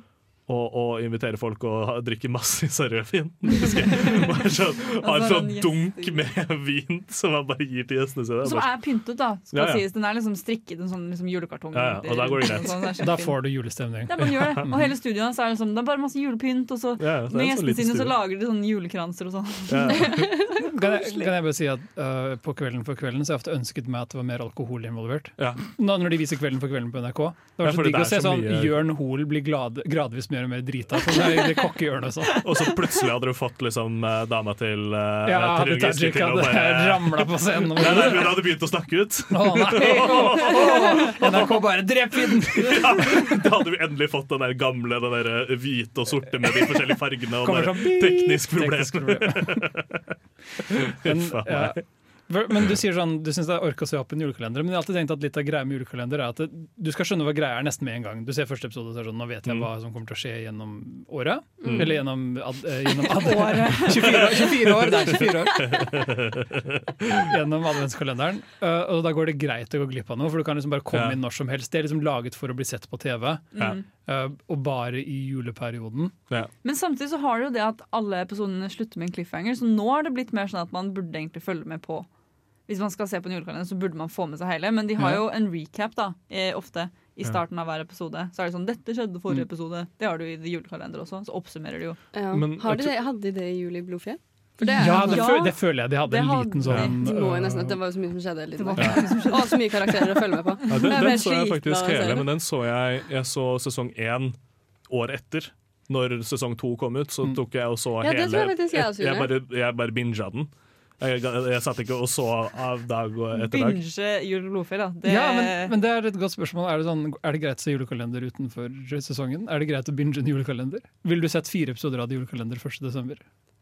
Speaker 1: og, og inviterer folk og ha- drikker massevis av rødvin. *laughs* Husker
Speaker 4: *laughs*
Speaker 1: jeg. Bare sånn, Har en
Speaker 4: har han
Speaker 1: sånn dunk med *laughs* vin som han bare gir til gjestene sine.
Speaker 4: Som
Speaker 1: Bare,
Speaker 4: er pyntet, da. skal
Speaker 1: Ja, ja.
Speaker 4: sies. Den er liksom strikket en sånn liksom julekartong. sånn,
Speaker 1: Ja, ja, og da går det greit.
Speaker 3: Da får du julestemning.
Speaker 4: Ja, man gjør
Speaker 1: *laughs*
Speaker 4: det. Og hele studioet hans er liksom, det er bare masse julepynt, og så
Speaker 1: Ja, ja, det er en
Speaker 4: med
Speaker 1: sånn
Speaker 4: gjestene
Speaker 1: liten
Speaker 4: sine så
Speaker 1: stue.
Speaker 4: lager de sånne julekranser og sånn.
Speaker 1: ja.
Speaker 3: Kan jeg, kan jeg bare si at øh, På Kvelden for kvelden så har jeg ofte ønsket meg at det var mer alkohol involvert.
Speaker 1: Ja.
Speaker 3: Nå, når de viser Kvelden for kvelden på NRK. Det
Speaker 1: Ja,
Speaker 3: var så
Speaker 1: fordi det
Speaker 3: digg å
Speaker 1: er
Speaker 3: se
Speaker 1: så
Speaker 3: sånn
Speaker 1: mye-
Speaker 3: Jørn Hoel blir glad, gradvis mer og mer drita. For det
Speaker 1: *laughs*
Speaker 3: er det kokkehjørnet sånn.
Speaker 1: Og så plutselig hadde du fått liksom, eh, dama til eh,
Speaker 3: Ja,
Speaker 1: til Trond Giske
Speaker 3: Tajik
Speaker 1: til å
Speaker 3: hadde
Speaker 1: bare
Speaker 3: ramla på scenen.
Speaker 1: Nei, nei, hun hadde begynt å snakke ut. *laughs*
Speaker 3: Å nei! Å, å, NRK bare drep den!
Speaker 1: Ja, da hadde vi endelig fått den der gamle, den der eh, hvite og sorte med de forskjellige fargene. Og
Speaker 3: *laughs* Kommer
Speaker 1: bare,
Speaker 3: sånn beep.
Speaker 1: teknisk problem. *laughs*
Speaker 3: men,
Speaker 1: Faen
Speaker 3: ja.
Speaker 1: meg.
Speaker 3: For- men du sier sånn, du syns det er ork å se opp en julekalender, men jeg har alltid tenkt at litt av greia med julekalender er at det, du skal skjønne hva greia er nesten med en gang. Du ser første episode og så er det sånn, nå vet jeg
Speaker 1: Mm.
Speaker 3: hva som kommer til å skje gjennom året. Eller gjennom, ad, eh, gjennom ad, *laughs*
Speaker 4: Året.
Speaker 3: 24, år, 24 år, det er 24 år.
Speaker 1: *laughs*
Speaker 3: Gjennom adventskalenderen. Eh, og da går det greit å gå glipp av noe, for du kan liksom bare komme
Speaker 1: Ja.
Speaker 3: inn når som helst. Det er liksom laget for å bli sett på TV,
Speaker 1: Ja.
Speaker 4: Mm.
Speaker 3: eh, og bare i juleperioden.
Speaker 1: Ja.
Speaker 4: Men samtidig så har du jo det at alle episodene slutter med en cliffhanger, så nå har det blitt mer sånn at man burde egentlig følge med på. Hvis man skal se på en julekalender, så burde man få med seg hele, men de har
Speaker 3: Ja.
Speaker 4: jo en recap da, eh, ofte i starten av hver episode. Så er det sånn 'Dette skjedde forrige
Speaker 3: Mm.
Speaker 4: episode'. Det har du i julekalender også. Så oppsummerer de jo.
Speaker 2: Ja.
Speaker 1: Men
Speaker 2: Har de
Speaker 1: jeg
Speaker 2: det, hadde de det i Juli blodfjell? For det er
Speaker 3: Ja, det,
Speaker 4: Ja.
Speaker 3: fø- det føler jeg de hadde.
Speaker 4: Det
Speaker 3: En
Speaker 4: hadde
Speaker 3: liten
Speaker 4: de.
Speaker 3: sånn
Speaker 2: De må jo nesten
Speaker 3: eh,
Speaker 2: at Det var jo så mye som skjedde.
Speaker 4: Det var
Speaker 2: Liksom. Og så mye karakterer å følge med på.
Speaker 1: Ja,
Speaker 2: Det
Speaker 1: den,
Speaker 2: er
Speaker 1: den
Speaker 2: mer altså.
Speaker 1: så jeg
Speaker 2: sliten av
Speaker 1: faktisk
Speaker 2: å se
Speaker 1: hele,
Speaker 2: det.
Speaker 1: men den så jeg Jeg så sesong én år etter. Når sesong to kom ut, så
Speaker 3: Mm.
Speaker 1: tok jeg og så
Speaker 2: Ja,
Speaker 1: hele
Speaker 2: det tror jeg faktisk jeg også
Speaker 1: jeg,
Speaker 2: gjorde.
Speaker 1: bare, jeg bare binga den. Jeg, jeg satt ikke og så av dag og etter dag.
Speaker 4: Binge Jul og blodfjell, da. Det,
Speaker 3: Ja, men, men det er et godt spørsmål. Er det, sånn, er det greit å se julekalender utenfor sesongen? Er det greit å binge en julekalender? Vil du sett fire episoder av julekalender 1. desember?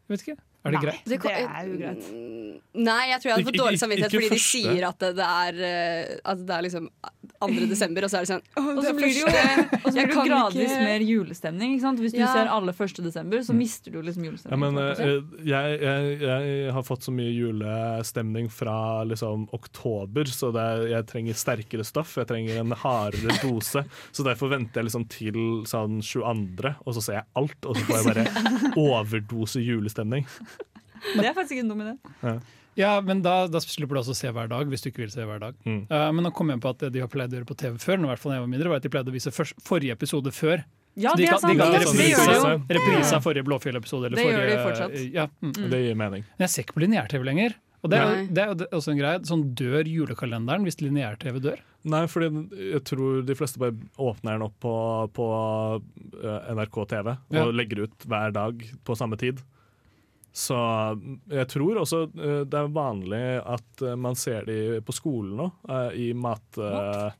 Speaker 3: Jeg vet ikke. Er det
Speaker 4: Nei.
Speaker 3: greit?
Speaker 4: Det er jo greit.
Speaker 2: Mm, Nei, jeg tror jeg hadde fått
Speaker 1: Ikke- ikke-
Speaker 2: dårlig samvittighet
Speaker 1: ikke
Speaker 2: fordi de
Speaker 1: første.
Speaker 2: sier at det, det er eh, At det er liksom 2. desember, og så er det sånn «Åh,
Speaker 4: Og
Speaker 2: det
Speaker 4: så
Speaker 2: er
Speaker 4: blir det jo
Speaker 2: første».
Speaker 4: og
Speaker 2: *laughs* Jeg
Speaker 4: så blir det
Speaker 2: kan
Speaker 4: gradvis
Speaker 2: ikke-
Speaker 4: mer julestemning. Ikke sant? Hvis du
Speaker 2: Ja.
Speaker 4: ser alle 1. desember,
Speaker 3: Mm.
Speaker 4: så mister du liksom julestemning.
Speaker 1: Ja, men, eh, jeg, jeg, jeg har fått så mye julestemning fra liksom, oktober, så det er, jeg trenger sterkere stoff. Jeg trenger en hardere
Speaker 2: *laughs*
Speaker 1: dose. Så derfor venter jeg liksom til sånn 22., og så ser jeg alt. Og så får jeg
Speaker 2: *laughs*
Speaker 1: bare overdose julestemning.
Speaker 4: det er faktisk ikke en dum idé.
Speaker 3: Ja, men da, da slipper du også å se hver dag, hvis du ikke vil se hver dag.
Speaker 1: Mm.
Speaker 3: Eh, men nå kom jeg på at det de har pleid å gjøre på TV før, nå i hvert fall da jeg var mindre, var at de pleide å vise først, forrige episode før.
Speaker 4: Ja,
Speaker 3: Så de,
Speaker 4: det er
Speaker 3: kan- de kan liksom
Speaker 4: sant!
Speaker 1: Ja,
Speaker 4: det,
Speaker 1: sånn
Speaker 4: det gjør
Speaker 1: reprise.
Speaker 4: det
Speaker 3: reprise,
Speaker 4: jo.
Speaker 3: reprise av forrige Blåfjell-episode. eller
Speaker 4: Det gjør de
Speaker 3: forrige-
Speaker 4: fortsatt.
Speaker 3: Ja, mm.
Speaker 1: Det gir mening.
Speaker 3: Men jeg ser ikke på lineær-TV lenger. Og det er, jo-
Speaker 2: Nei.
Speaker 3: det er jo også en greie. Sånn dør julekalenderen hvis lineær-TV dør.
Speaker 1: Nei, fordi jeg tror de fleste bare åpner den opp på, på eh, NRK TV
Speaker 3: Ja.
Speaker 1: og legger ut hver dag på samme tid. Så mm, jeg tror også eh, det er vanlig at eh, man ser de på skolen nå, eh, i, mat, eh,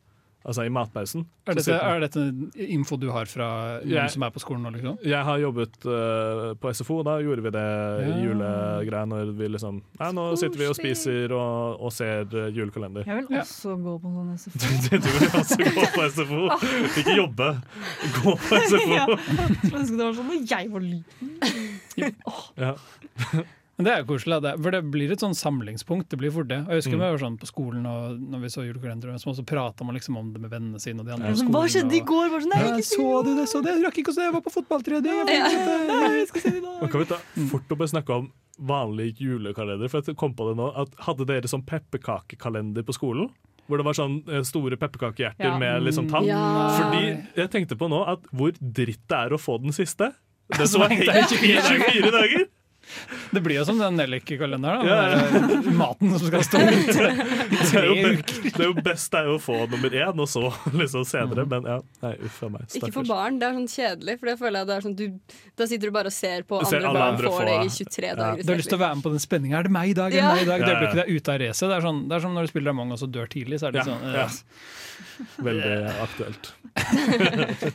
Speaker 1: altså i matpausen. Så
Speaker 3: Er dette,
Speaker 1: sitter-
Speaker 3: er dette info du har fra noen
Speaker 1: Jeg-
Speaker 3: som er på skolen nå, liksom?
Speaker 1: Jeg har jobbet eh, på SFO, da gjorde vi det
Speaker 3: Ja.
Speaker 1: julegreia når vi liksom Nei, nå sitter vi og spiser og, og ser eh, julekalender.
Speaker 4: Jeg vil
Speaker 3: Ja.
Speaker 4: også gå på en sånn
Speaker 1: *laughs*
Speaker 4: SFO.
Speaker 1: Det tror jeg også gå på SFO. Ikke jobbe, gå på SFO.
Speaker 4: Ah. *laughs* Ja. Skulle ønske det var sånn da jeg var liten.
Speaker 1: Ja.
Speaker 3: Men Det er jo koselig, da. det, for det blir et sånn samlingspunkt. det blir fort det. Og Jeg husker
Speaker 1: Mm.
Speaker 3: vi var sånn på skolen og når vi så julekalenderen, så også prata man liksom om det med vennene sine. og de andre på
Speaker 4: Hva
Speaker 3: skolen,
Speaker 4: skjedde i
Speaker 3: og-
Speaker 4: går? Bare sånn, nei,
Speaker 3: Ja,
Speaker 4: ikke si
Speaker 3: så du det, så det? Jeg rakk ikke å se, jeg var på fotballtrening! jeg fikk
Speaker 4: *laughs*
Speaker 3: ikke se
Speaker 4: det, jeg skal se det i dag.
Speaker 1: Man kan vi ta fort å bare snakke om vanlig julekalender, for jeg kom på det nå, at hadde dere sånn pepperkakekalender på skolen?
Speaker 3: det».
Speaker 1: Hvor det var sånn eh, store pepperkakehjerter
Speaker 4: Ja.
Speaker 1: med liksom
Speaker 3: Mm,
Speaker 1: tann.
Speaker 2: Ja.
Speaker 1: Fordi jeg tenkte på nå at hvor dritt det er å få den siste. Det som har hengt
Speaker 3: hengte
Speaker 1: i 24 dager!
Speaker 3: Det blir jo som den nellikalenderen.
Speaker 1: Ja, ja.
Speaker 3: Ja, Maten som skal stå ut.
Speaker 1: Det er, jo, be- det er jo best er jo å få nummer én, og så *laughs* liksom senere. Men ja, nei, uff a meg.
Speaker 2: Ikke for
Speaker 1: stakkars.
Speaker 2: barn, det er sånn kjedelig. For det føler jeg det er sånn, du, Da sitter du bare og ser på
Speaker 1: Du ser
Speaker 2: andre
Speaker 1: alle
Speaker 2: barn
Speaker 1: andre
Speaker 2: får
Speaker 1: få-
Speaker 2: det i 23 dager. i
Speaker 3: Du har lyst til å
Speaker 2: strekk.
Speaker 3: være med på den spenninga. Er det meg i dag? Er
Speaker 2: Ja.
Speaker 3: det meg i dag?
Speaker 1: Ja,
Speaker 3: Det
Speaker 1: ja.
Speaker 3: øyeblikket det er ute av racet. Det, er sånn, det er som når du spiller Among us og dør tidlig. Så er
Speaker 1: Ja,
Speaker 3: det sånn,
Speaker 1: ja.
Speaker 3: eh,
Speaker 1: Veldig aktuelt.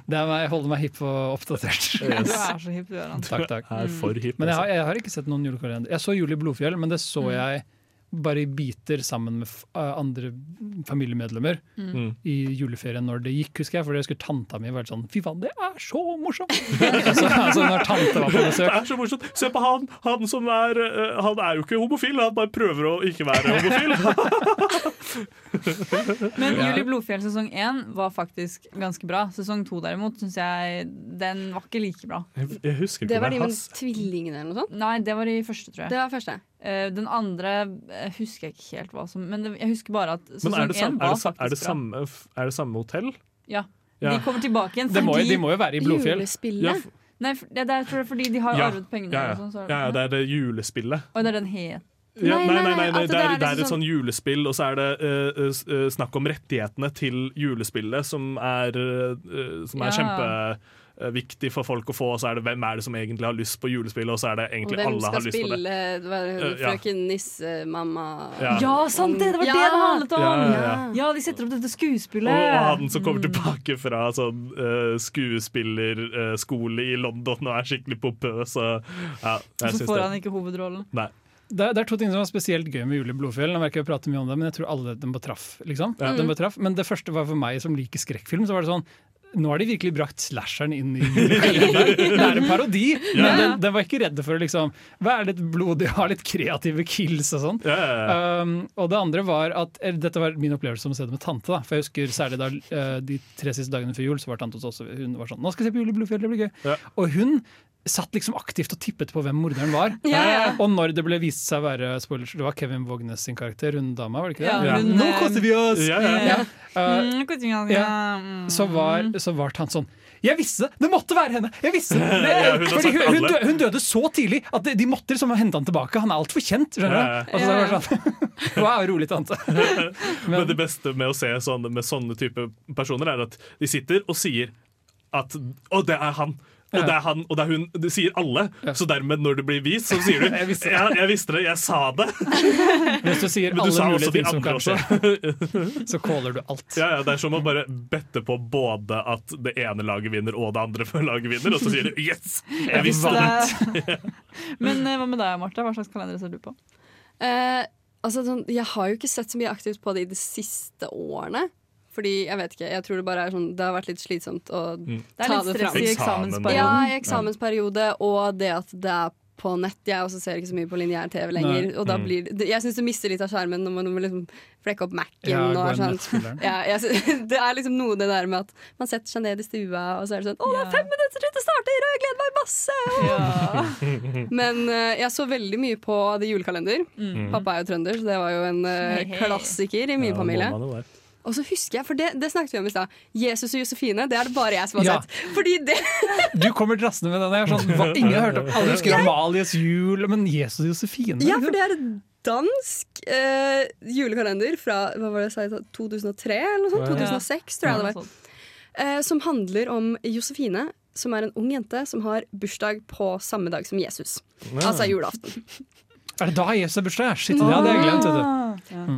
Speaker 3: det er meg, jeg holder meg hipp og
Speaker 1: *laughs*
Speaker 3: oppdatert.
Speaker 4: Du
Speaker 1: Yes.
Speaker 4: er så hipp, du,
Speaker 3: *laughs*
Speaker 4: Aran.
Speaker 3: Takk, takk.
Speaker 1: Er for hipp.
Speaker 3: Men jeg har,
Speaker 1: altså.
Speaker 3: jeg har ikke sett noen julekalender. Jeg så Jul i Blodfjell, men det så jeg bare i biter sammen med f eh, andre familiemedlemmer
Speaker 1: Mm.
Speaker 3: i juleferien når det gikk, husker jeg. For det skulle tanta mi vært sånn Fy faen, det er så morsomt! *laughs* altså, altså når tante var
Speaker 1: *laughs*
Speaker 3: på
Speaker 1: Det
Speaker 3: besøk.
Speaker 1: er så morsomt. Se på han! Han som er eh, Han er jo ikke homofil, han bare prøver å ikke være homofil.
Speaker 4: Men
Speaker 3: Ja.
Speaker 4: Juli Blodfjell sesong 1 var faktisk ganske bra. Sesong 2 derimot syns jeg den var ikke like bra.
Speaker 1: Jeg, jeg husker
Speaker 2: Det
Speaker 1: ikke
Speaker 2: var
Speaker 1: mer
Speaker 2: de med
Speaker 1: hans.
Speaker 2: tvillingene eller noe sånt?
Speaker 4: Nei, det var i første, tror jeg.
Speaker 2: Det var første.
Speaker 4: Eh, den andre eh, husker jeg ikke helt hva som Men det, jeg husker bare at
Speaker 1: Men
Speaker 4: sesong
Speaker 1: er det, sam,
Speaker 4: 1
Speaker 1: er,
Speaker 4: var
Speaker 1: det, sa-
Speaker 4: faktisk
Speaker 1: er, det samme, er det samme hotell?
Speaker 4: bra. Ja.
Speaker 1: Ja.
Speaker 4: De kommer tilbake igjen
Speaker 3: Det må, jo-
Speaker 4: fordi
Speaker 3: de må jo være i Blodfjell.
Speaker 1: Ja,
Speaker 2: Julespillet.
Speaker 1: f-
Speaker 4: Nei, for- det, det er, tror jeg, fordi de har
Speaker 1: Ja.
Speaker 4: arvet pengene.
Speaker 1: ja,
Speaker 4: Og
Speaker 1: ja.
Speaker 4: sånn, så,
Speaker 1: ja, ja det er det julespillet.
Speaker 4: Oi, det er den het.
Speaker 1: Ja,
Speaker 2: Nei,
Speaker 1: nei, nei,
Speaker 2: nei,
Speaker 1: nei,
Speaker 2: nei, at
Speaker 1: det, er,
Speaker 2: det er
Speaker 1: det er et
Speaker 2: liksom
Speaker 1: sånn julespill, og så er det eh, eh, s- eh, snakk om rettighetene til julespillet, som er, eh, som er
Speaker 4: Ja.
Speaker 1: kjempeviktig for folk å få. Og så er det hvem er det som egentlig har lyst på julespillet, og så er det
Speaker 2: Og
Speaker 1: egentlig
Speaker 2: hvem
Speaker 1: alle
Speaker 2: skal
Speaker 1: har lyst på det.
Speaker 2: spille det var det
Speaker 1: Eh, ja.
Speaker 2: frøken Nisse-mamma
Speaker 1: Ja.
Speaker 4: Ja, sant det! Det var
Speaker 2: Ja.
Speaker 4: det det handlet om!
Speaker 1: Ja,
Speaker 4: Ja,
Speaker 1: ja, ja.
Speaker 4: de setter opp dette
Speaker 1: Og,
Speaker 4: skuespillet.
Speaker 1: og han som kommer tilbake fra sånn eh, skuespillerskole i London og er skikkelig pompøs. Og, ja,
Speaker 4: Og
Speaker 1: jeg
Speaker 4: så
Speaker 1: syns
Speaker 4: får
Speaker 1: det.
Speaker 4: han ikke hovedrollen.
Speaker 1: Nei.
Speaker 3: Det, er- det er to ting som var spesielt gøy med Jul i Blodfjell. Jeg merker vi prater mye om det, men jeg tror alle den betraff. Liksom.
Speaker 1: Ja.
Speaker 3: Den betraff. Men det første var for meg som liker skrekkfilm, så var det sånn nå har de virkelig brakt slasheren inn i julekalenderen. Det er en parodi, men den, den var ikke redd for å liksom, være litt blodig og ha litt kreative kills og sånn.
Speaker 1: Ja, ja, ja.
Speaker 3: Um, og det andre var at eller, Dette var min opplevelse som å se det med tante. Da. For jeg husker særlig da eh, de tre siste dagene før jul, så var tante hos oss. og Hun var sånn 'Nå skal jeg se på Jul i Blodfjell, det blir gøy'.
Speaker 1: Ja.
Speaker 3: Og hun satt liksom aktivt og tippet på hvem morderen var.
Speaker 4: *laughs* Ja, ja.
Speaker 3: Og når det ble vist seg å være spoilers, det var Kevin Vågnes sin karakter, hun eh, dama, var det ikke det?
Speaker 4: Ja,
Speaker 1: Ja.
Speaker 4: hun,
Speaker 3: Nå koser vi oss!
Speaker 1: Ja, ja, ja.
Speaker 3: Eh,
Speaker 4: Mm, koser vi oss,
Speaker 3: Ja.
Speaker 4: ja. Mm.
Speaker 3: så var, så var han sånn Jeg visste det! Det måtte være henne! Jeg
Speaker 1: *laughs*
Speaker 3: visste det!
Speaker 1: Ja, hun har
Speaker 3: Fordi
Speaker 1: sagt
Speaker 3: hun, hun,
Speaker 1: alle.
Speaker 3: dø, hun døde så tidlig at de, de måtte liksom hente han tilbake. Han er altfor kjent, skjønner
Speaker 1: Ja, ja.
Speaker 3: du. Og så var det sånn *laughs* Wow, rolig, tante.
Speaker 1: *laughs* Men det beste med å se sånne, med sånne type personer er at de sitter og sier at Å, det er han! Og det er han, og det er hun. Det sier alle. Så dermed, når det blir vist, så sier du
Speaker 3: Jeg visste det.
Speaker 1: Ja, jeg visste det, jeg sa det!
Speaker 3: Hvis du sier
Speaker 1: Men du
Speaker 3: alle
Speaker 1: sa
Speaker 3: mulige
Speaker 1: også de
Speaker 3: ting som
Speaker 1: andre
Speaker 3: kan
Speaker 1: også.
Speaker 3: skje, så caller du alt.
Speaker 1: Ja, ja, det er som å bare bette på både at det ene laget vinner og det andre *laughs* laget vinner, og så sier du 'yes, jeg visste det'.
Speaker 4: Det- *laughs* Men eh, hva med deg, Marte? Hva slags kalender ser du på?
Speaker 2: Eh, altså, sånn, jeg har jo ikke sett så mye aktivt på det i de siste årene. Fordi jeg vet ikke, jeg tror det bare er sånn Det har vært litt slitsomt å
Speaker 4: Det er
Speaker 2: Ta
Speaker 4: litt
Speaker 2: det fram.
Speaker 4: stress i
Speaker 1: Eksamen.
Speaker 2: Ja,
Speaker 4: eksamensperioden.
Speaker 2: i eksamensperiode, og det at det er på nett. Jeg også ser ikke så mye på lineær TV lenger. Og
Speaker 3: Mm.
Speaker 2: da blir det, jeg syns du mister litt av skjermen når man må liksom flekke opp Mac-en.
Speaker 3: Ja,
Speaker 2: og
Speaker 3: gå
Speaker 2: er
Speaker 3: inn i
Speaker 2: sånn,
Speaker 3: nettspilleren.
Speaker 2: ja, jeg syns- *laughs* det er liksom noe det der med at man setter seg ned i stua, og så er det sånn Å, det er fem minutter til det starter, og jeg gleder meg masse!
Speaker 4: Ja.
Speaker 3: Mm.
Speaker 2: Men eh, jeg så veldig mye på The Julekalender. Pappa er jo trønder, så det var jo en eh,
Speaker 4: Hei, hei.
Speaker 2: klassiker i min
Speaker 1: Ja,
Speaker 2: familie.
Speaker 1: må man jo være.
Speaker 2: Og så husker jeg, for det, det snakket vi om i stad, Jesus og Josefine. Det er det bare jeg som har
Speaker 3: Ja.
Speaker 2: sett. Fordi det
Speaker 3: Du kommer drassende med den. Jeg er sånn, hva, ingen har hørt om Alle husker Amalies jul, men Jesus og Josefine
Speaker 2: Ja, for
Speaker 3: liksom.
Speaker 2: det er en dansk eh, julekalender fra hva var det, jeg sa, 2003 eller noe sånt.
Speaker 1: Ja.
Speaker 2: 2006, tror jeg det var.
Speaker 4: Sånn.
Speaker 2: Eh, som handler om Josefine, som er en ung jente som har bursdag på samme dag som Jesus.
Speaker 1: Ja.
Speaker 2: Altså julaften.
Speaker 3: Er det da Jesus har bursdag? Shit, det hadde jeg glemt. Vet du.
Speaker 4: Ah,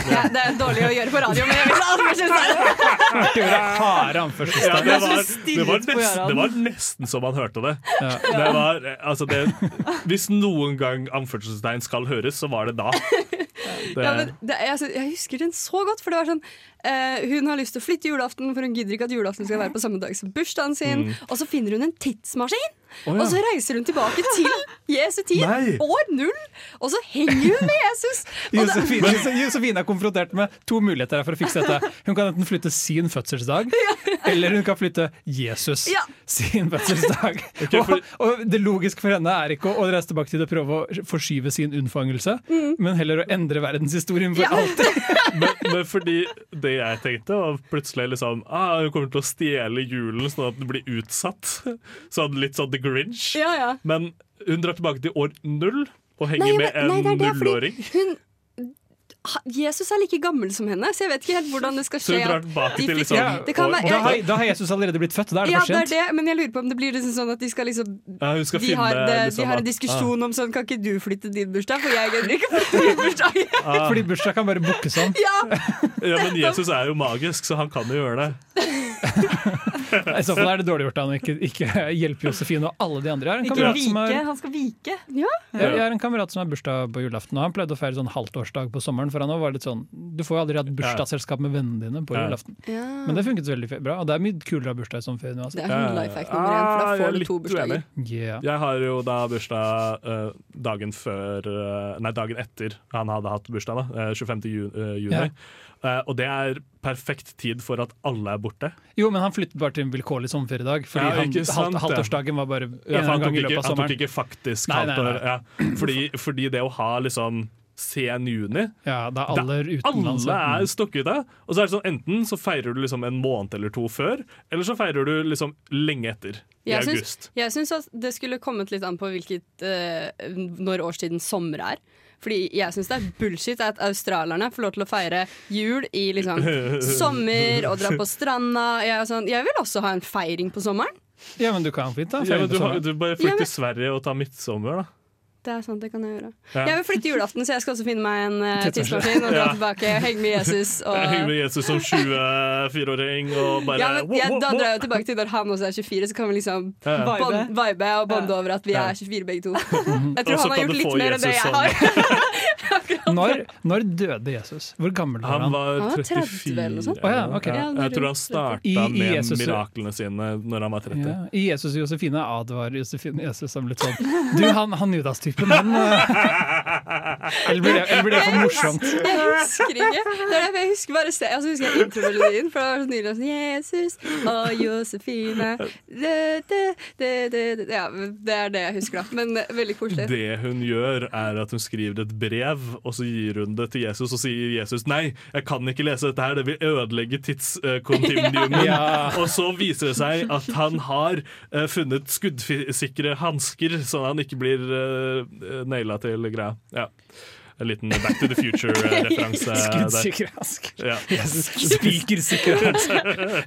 Speaker 2: Ja, det er dårlig å gjøre på radio, men jeg vil anerkjenne det.
Speaker 3: Hørte ordet harde anførselstegn.
Speaker 1: Ja, det,
Speaker 4: så
Speaker 1: var, det,
Speaker 4: stirret
Speaker 1: var
Speaker 4: på
Speaker 1: nesten,
Speaker 4: Göran.
Speaker 1: det var nesten som han hørte det.
Speaker 3: Ja.
Speaker 1: det, var, altså det hvis noen gang anførselstegn skal høres, så var det da. Det,
Speaker 2: Ja, men det, jeg, jeg husker den så godt, for det var sånn eh, Hun har lyst til å flytte julaften, for hun gidder ikke at julaften skal være på samme dag som bursdagen sin. Og så finner hun en tidsmaskin,
Speaker 1: Mm. Å, ja.
Speaker 2: og så reiser hun tilbake
Speaker 1: *laughs*
Speaker 2: til Jesu tid,
Speaker 1: Nei.
Speaker 2: år null, og så henger hun med
Speaker 1: *laughs*
Speaker 2: Jesus! Og det,
Speaker 3: Josefine,
Speaker 2: *laughs*
Speaker 3: Jose- Josefine er konfrontert med to muligheter her for å fikse dette. Hun kan enten flytte sin fødselsdag, Eller hun kan flytte Jesus
Speaker 2: Ja.
Speaker 3: sin
Speaker 2: *laughs*
Speaker 3: fødselsdag.
Speaker 1: Ok, for-
Speaker 3: og, og det logiske for henne er ikke å å reise tilbake til å prøve å forskyve sin unnfangelse, men heller å endre verdenshistorien for
Speaker 2: Mm. Ja. *laughs*
Speaker 3: alltid.
Speaker 1: Men, men fordi det jeg tenkte, var plutselig liksom ah, Hun kommer til å stjele julen sånn at den blir utsatt. Sånn litt sånn The Grinch.
Speaker 2: Ja, ja.
Speaker 1: Men hun drar tilbake til år null og henger med
Speaker 2: men- nei,
Speaker 1: en
Speaker 2: det er det, fordi
Speaker 1: nullåring.
Speaker 2: Hun, ha- Jesus er like gammel som henne, så jeg vet ikke helt hvordan det skal
Speaker 1: Så
Speaker 2: skje.
Speaker 1: hun drar
Speaker 2: at
Speaker 1: tilbake
Speaker 2: de
Speaker 1: til
Speaker 2: fikk-
Speaker 1: liksom
Speaker 3: Ja,
Speaker 2: det kan
Speaker 1: år-
Speaker 2: være-
Speaker 1: år-
Speaker 3: Da har, da har Jesus allerede blitt født, da er det
Speaker 2: ja,
Speaker 3: for
Speaker 2: det er
Speaker 3: sent.
Speaker 2: det, men jeg lurer på om det blir liksom sånn at de skal liksom
Speaker 1: ja, hun skal
Speaker 2: de
Speaker 1: finne
Speaker 2: har, det,
Speaker 1: liksom
Speaker 2: de har en
Speaker 1: at-
Speaker 2: diskusjon om sånn Kan ikke du flytte din bursdag, for jeg gidder ikke flytte min
Speaker 3: *laughs*
Speaker 2: bursdag.
Speaker 1: Ah, ah.
Speaker 3: Fordi bursdag kan bare bookes om.
Speaker 2: ja,
Speaker 1: Ja,
Speaker 2: *laughs*
Speaker 1: men Jesus er jo magisk, så han kan jo gjøre det.
Speaker 3: I så fall er det dårlig gjort av henne å ikke, ikke hjelpe Josefine og alle de andre. Jeg har en
Speaker 4: Ikke
Speaker 3: kamerat som
Speaker 4: vike,
Speaker 3: har,
Speaker 4: han skal vike.
Speaker 3: jeg, jeg har, en kamerat som har bursdag på julaften, og han pleide å feire sånn halvtårsdag på sommeren. For han også var litt sånn, Du får jo aldri hatt bursdagsselskap med vennene dine på
Speaker 1: Ja.
Speaker 3: julaften.
Speaker 2: ja.
Speaker 3: Men det funket veldig fe- bra, og det er mye kulere å ha bursdag som ferie nå. Altså.
Speaker 2: Det er
Speaker 1: Ja.
Speaker 2: sånn life hack nummer én, for
Speaker 1: Ah,
Speaker 2: da
Speaker 1: jeg er
Speaker 2: får du
Speaker 1: litt
Speaker 2: to bursdager.
Speaker 1: uenig.
Speaker 3: Yeah.
Speaker 1: Jeg har jo da bursdag eh, dagen før eh, Nei, dagen etter han hadde hatt bursdag, da. eh, 25. Ju eh, juni.
Speaker 3: Ja.
Speaker 1: Eh, og det er perfekt tid for at alle er borte.
Speaker 3: Jo, men han flyttet bare til en vilkårlig sommerferiedag. Fordi
Speaker 1: Ja,
Speaker 3: han,
Speaker 1: ikke sant,
Speaker 3: halvt,
Speaker 1: ja.
Speaker 3: halvtårsdagen var bare en
Speaker 1: Ja, for han,
Speaker 3: gang
Speaker 1: tok
Speaker 3: i løpet
Speaker 1: ikke,
Speaker 3: av
Speaker 1: han tok
Speaker 3: sommeren.
Speaker 1: ikke faktisk
Speaker 3: Nei, nei,
Speaker 1: halvt år.
Speaker 3: nei.
Speaker 1: Ja. Fordi, fordi det å ha liksom sen juni
Speaker 3: Ja, da er alle utenlands.
Speaker 1: Alle er stukket av. Og så er det sånn, enten så feirer du liksom en måned eller to før, eller så feirer du liksom lenge etter. I
Speaker 2: Jeg syns-
Speaker 1: august.
Speaker 2: Jeg syns at det skulle kommet litt an på hvilket, eh, når årstiden sommer er. Fordi jeg syns det er bullshit at australierne får lov til å feire jul i liksom
Speaker 1: *laughs*
Speaker 2: sommer og dra på stranda. Jeg, er sånn, jeg vil også ha en feiring på sommeren.
Speaker 3: Ja, men du kan fint da.
Speaker 1: Ja, men
Speaker 3: feire
Speaker 1: du,
Speaker 3: på
Speaker 1: har,
Speaker 3: sommeren.
Speaker 1: du bare
Speaker 2: Ja,
Speaker 1: flytter
Speaker 2: men-
Speaker 1: til Sverige og tar midtsommer, da.
Speaker 2: Det er sant, det kan jeg gjøre.
Speaker 1: Ja.
Speaker 2: Jeg vil flytte julaften, så jeg skal også finne meg en uh,
Speaker 3: Tidsmaskin.
Speaker 2: tidsmaskin og dra
Speaker 1: Ja.
Speaker 2: tilbake og henge med Jesus.
Speaker 1: *laughs*
Speaker 2: Og,
Speaker 1: Jeg henger med Jesus som 24-åring og bare
Speaker 2: ja, men,
Speaker 1: wow,
Speaker 2: jeg,
Speaker 1: wow,
Speaker 2: da
Speaker 1: wow.
Speaker 2: drar jeg jo tilbake til når han også er 24, så kan vi liksom
Speaker 1: Ja, ja.
Speaker 4: Vibe.
Speaker 2: bond- vibe og bonde over at vi
Speaker 1: Ja.
Speaker 2: er 24 begge
Speaker 1: *laughs*
Speaker 2: to.
Speaker 1: Og
Speaker 2: Jeg tror
Speaker 1: så
Speaker 2: han har
Speaker 1: kan du
Speaker 2: gjort
Speaker 1: få
Speaker 2: litt mer enn
Speaker 1: Jesus
Speaker 2: det jeg
Speaker 1: som-
Speaker 2: har. *laughs*
Speaker 3: Når, når døde Jesus? Hvor gammel var
Speaker 1: Han
Speaker 3: han?
Speaker 1: var
Speaker 2: Han var
Speaker 1: 34.
Speaker 2: 30 eller noe sånt.
Speaker 3: Å ja, ok.
Speaker 1: Ja, jeg tror han
Speaker 3: I-
Speaker 1: starta
Speaker 3: i
Speaker 1: med
Speaker 3: Jesus-
Speaker 1: miraklene sine når han var 30.
Speaker 3: Ja. I Jesus og Josefine advarer Josefine Jesus som litt sånn Du, han, han Judas-typen, han eh, Eller blir det, eller blir det for morsomt?
Speaker 2: Jeg husker ikke. Det er derfor jeg husker bare se, altså husker jeg intromelodien, for det var så nydelig. Sånn, Jesus og Josefine det, det, det, det, det. Ja, det er det jeg husker, da. Men eh, veldig koselig.
Speaker 1: Det hun gjør, er at hun skriver et brev, og så gir hun det til Jesus, og sier Jesus nei, jeg kan ikke lese dette her, det vil ødelegge tidskontinuumet.
Speaker 3: *laughs* Ja.
Speaker 1: Og så viser det seg at han har eh, funnet skuddsikre hansker, sånn at han ikke blir uh, naila til greia. Ja. En liten Back to the
Speaker 3: *laughs*
Speaker 1: Future-referanse der.
Speaker 3: Skuddsikker ask.
Speaker 1: Ja.
Speaker 3: Spikersikker ask.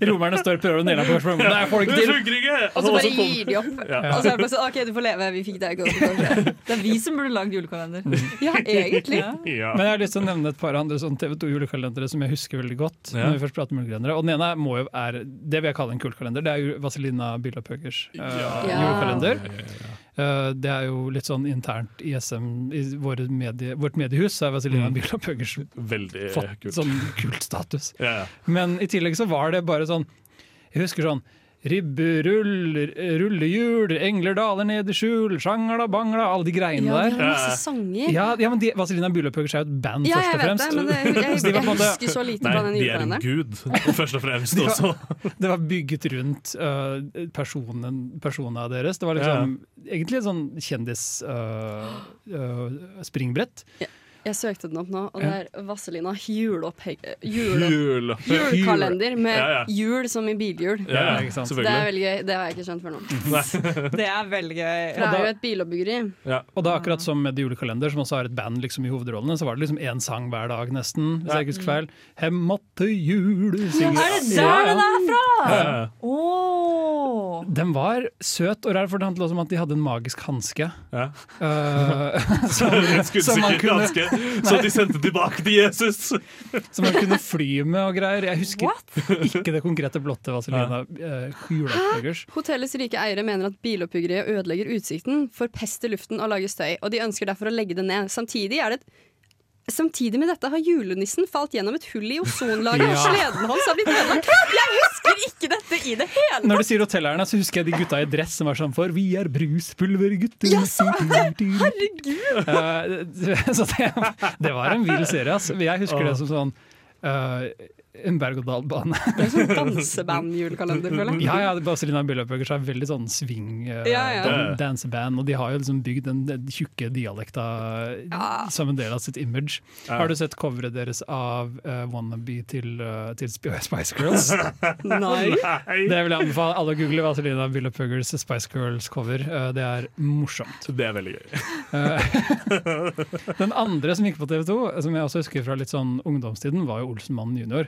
Speaker 3: Romerne står og prøver å naile ham på korset, men nei, jeg får det
Speaker 1: Det
Speaker 3: ikke til.
Speaker 1: funker ikke!
Speaker 2: Og så bare
Speaker 1: kom-
Speaker 2: gir de opp.
Speaker 1: Ja.
Speaker 2: Og så er det bare sånn OK, du får leve. Vi fikk deg godt.
Speaker 1: *laughs*
Speaker 2: kanskje.
Speaker 4: Det er vi som burde lagd julekalender.
Speaker 3: *laughs*
Speaker 2: Ja, egentlig.
Speaker 4: Ja.
Speaker 1: ja.
Speaker 3: Men jeg har lyst til å nevne et par andre sånn TV 2-julekalendere som jeg husker veldig godt.
Speaker 1: Ja.
Speaker 3: Når vi først prater om julekalendere Og Den ene må jo er det vil jeg kalle en kulekalender. Det er jo Vazelina Billop Høgers eh,
Speaker 1: Ja.
Speaker 3: julekalender. Eh, det er jo litt sånn internt i SM, i våre medie, vårt mediehus, så er Vazelina
Speaker 1: Mm.
Speaker 3: Billop Høgers
Speaker 1: Veldig
Speaker 3: fått
Speaker 1: kult.
Speaker 3: sånn kultstatus.
Speaker 1: Ja, ja.
Speaker 3: Men i tillegg så var det bare sånn Jeg husker sånn Ribberull, rullehjul, engler daler ned i skjul, sjangla bangla, alle
Speaker 2: Ja,
Speaker 3: de
Speaker 2: de
Speaker 3: greiene
Speaker 2: har
Speaker 3: der.
Speaker 2: masse sanger.
Speaker 3: Ja, ja, men de, Vazelina Billop Høgers er jo et band,
Speaker 2: Ja,
Speaker 3: først
Speaker 2: jeg
Speaker 3: og
Speaker 2: vet det,
Speaker 3: fremst.
Speaker 2: men det, jeg, jeg,
Speaker 3: Så de var på en måte-
Speaker 2: husker så lite
Speaker 1: Nei,
Speaker 2: fra den
Speaker 1: de er en
Speaker 2: julekalenderen.
Speaker 1: gud, først og fremst
Speaker 3: Ja.
Speaker 1: også.
Speaker 3: Det var bygget rundt øh, personen, persona deres. Det var liksom, egentlig et sånn øh, kjendis-springbrett.
Speaker 2: Jeg søkte den opp nå, og det er Vazelina juleopphegg... Jule...
Speaker 1: Jul.
Speaker 2: Julekalender
Speaker 1: Ja, ja.
Speaker 2: med jul som i bilhjul.
Speaker 1: Ja, ja,
Speaker 3: Ja, ikke sant.
Speaker 2: Det
Speaker 1: selvfølgelig. Mm.
Speaker 2: er veldig gøy. Det har jeg ikke skjønt før nå.
Speaker 4: Det er veldig gøy.
Speaker 2: For det er jo et biloppbyggeri.
Speaker 3: og da
Speaker 4: Mm.
Speaker 3: akkurat som med The Julekalender, som også har et band liksom, i hovedrollene, så var det liksom én sang hver dag, nesten. Hvis jeg ikke husker feil. Hemma til jul synger
Speaker 4: Er det der den er fra?
Speaker 1: Ja.
Speaker 4: Åh.
Speaker 3: Den var søt og rar, for det handlet også om at de hadde en magisk hanske.
Speaker 1: Ja.
Speaker 3: øh, som,
Speaker 1: En
Speaker 3: som, man
Speaker 1: skuddsikker
Speaker 3: kunne,
Speaker 1: hanske som de sendte tilbake til Jesus!
Speaker 3: *laughs* som man kunne fly med og greier. Jeg husker ikke det konkrete blottet Vazelina uh, Juleoppleggers.
Speaker 2: Hotellets rike eiere mener at biloppbyggeriet ødelegger utsikten, forpester luften og lager støy, og de ønsker derfor å legge det ned. Samtidig er det et Samtidig med dette har julenissen falt gjennom et hull i ozonlaget, og
Speaker 3: Ja.
Speaker 2: sleden hans har blitt ødelagt. Jeg husker ikke dette i det hele
Speaker 3: Når du sier hotellerne, så husker jeg de gutta i dress som var sånn for Vi er bruspulvergutter.
Speaker 2: Ja, sant
Speaker 3: Herregud! *laughs* så det, det var en vill serie, ass. Jeg husker det som sånn eh, en berg-og-dal-bane. *laughs*
Speaker 2: Det er sånn danseband-julekalender, føler jeg.
Speaker 3: Ja, ja, Baselina Billøpøker er veldig sånn swing eh,
Speaker 2: Ja, ja.
Speaker 3: dan- danseband, og de har jo liksom bygd den, den tjukke dialekta
Speaker 2: Ja.
Speaker 3: som en del av sitt image. Har du sett coveret deres av eh, Wannabe til, eh, til Sp- *laughs* Spice
Speaker 2: *laughs*
Speaker 3: Girls?
Speaker 2: Nei.
Speaker 1: Nei.
Speaker 3: Det vil jeg anbefale alle å google Vazelina Billøpøkers Spice Girls cover. Eh, Det er morsomt.
Speaker 1: Det er veldig gøy.
Speaker 3: Eh, *laughs* Den andre som gikk på TV 2, som jeg også husker fra litt sånn ungdomstiden, var jo Olsenmannen junior.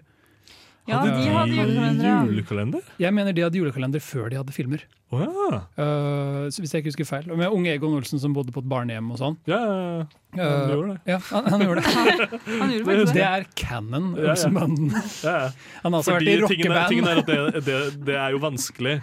Speaker 4: Ja, de hadde julekalender.
Speaker 1: Julekalender?
Speaker 3: Jeg mener de hadde julekalender før de hadde filmer.
Speaker 1: Å ja.
Speaker 3: Eh, så hvis jeg ikke husker feil. Og Med unge Egon Olsen som bodde på et barnehjem og sånn.
Speaker 1: Ja, ja, ja. Han
Speaker 3: Eh,
Speaker 1: gjorde det.
Speaker 3: Ja, han, han gjorde det.
Speaker 4: ja. Han gjorde faktisk
Speaker 3: Det
Speaker 4: det.
Speaker 3: er canon,
Speaker 1: *laughs* Ja, ja.
Speaker 3: Olsenmannen.
Speaker 1: ja, ja.
Speaker 3: Han har også
Speaker 1: Fordi
Speaker 3: vært i
Speaker 1: tingen er, tingen
Speaker 3: rockeband.
Speaker 1: er at det, det, det er jo vanskelig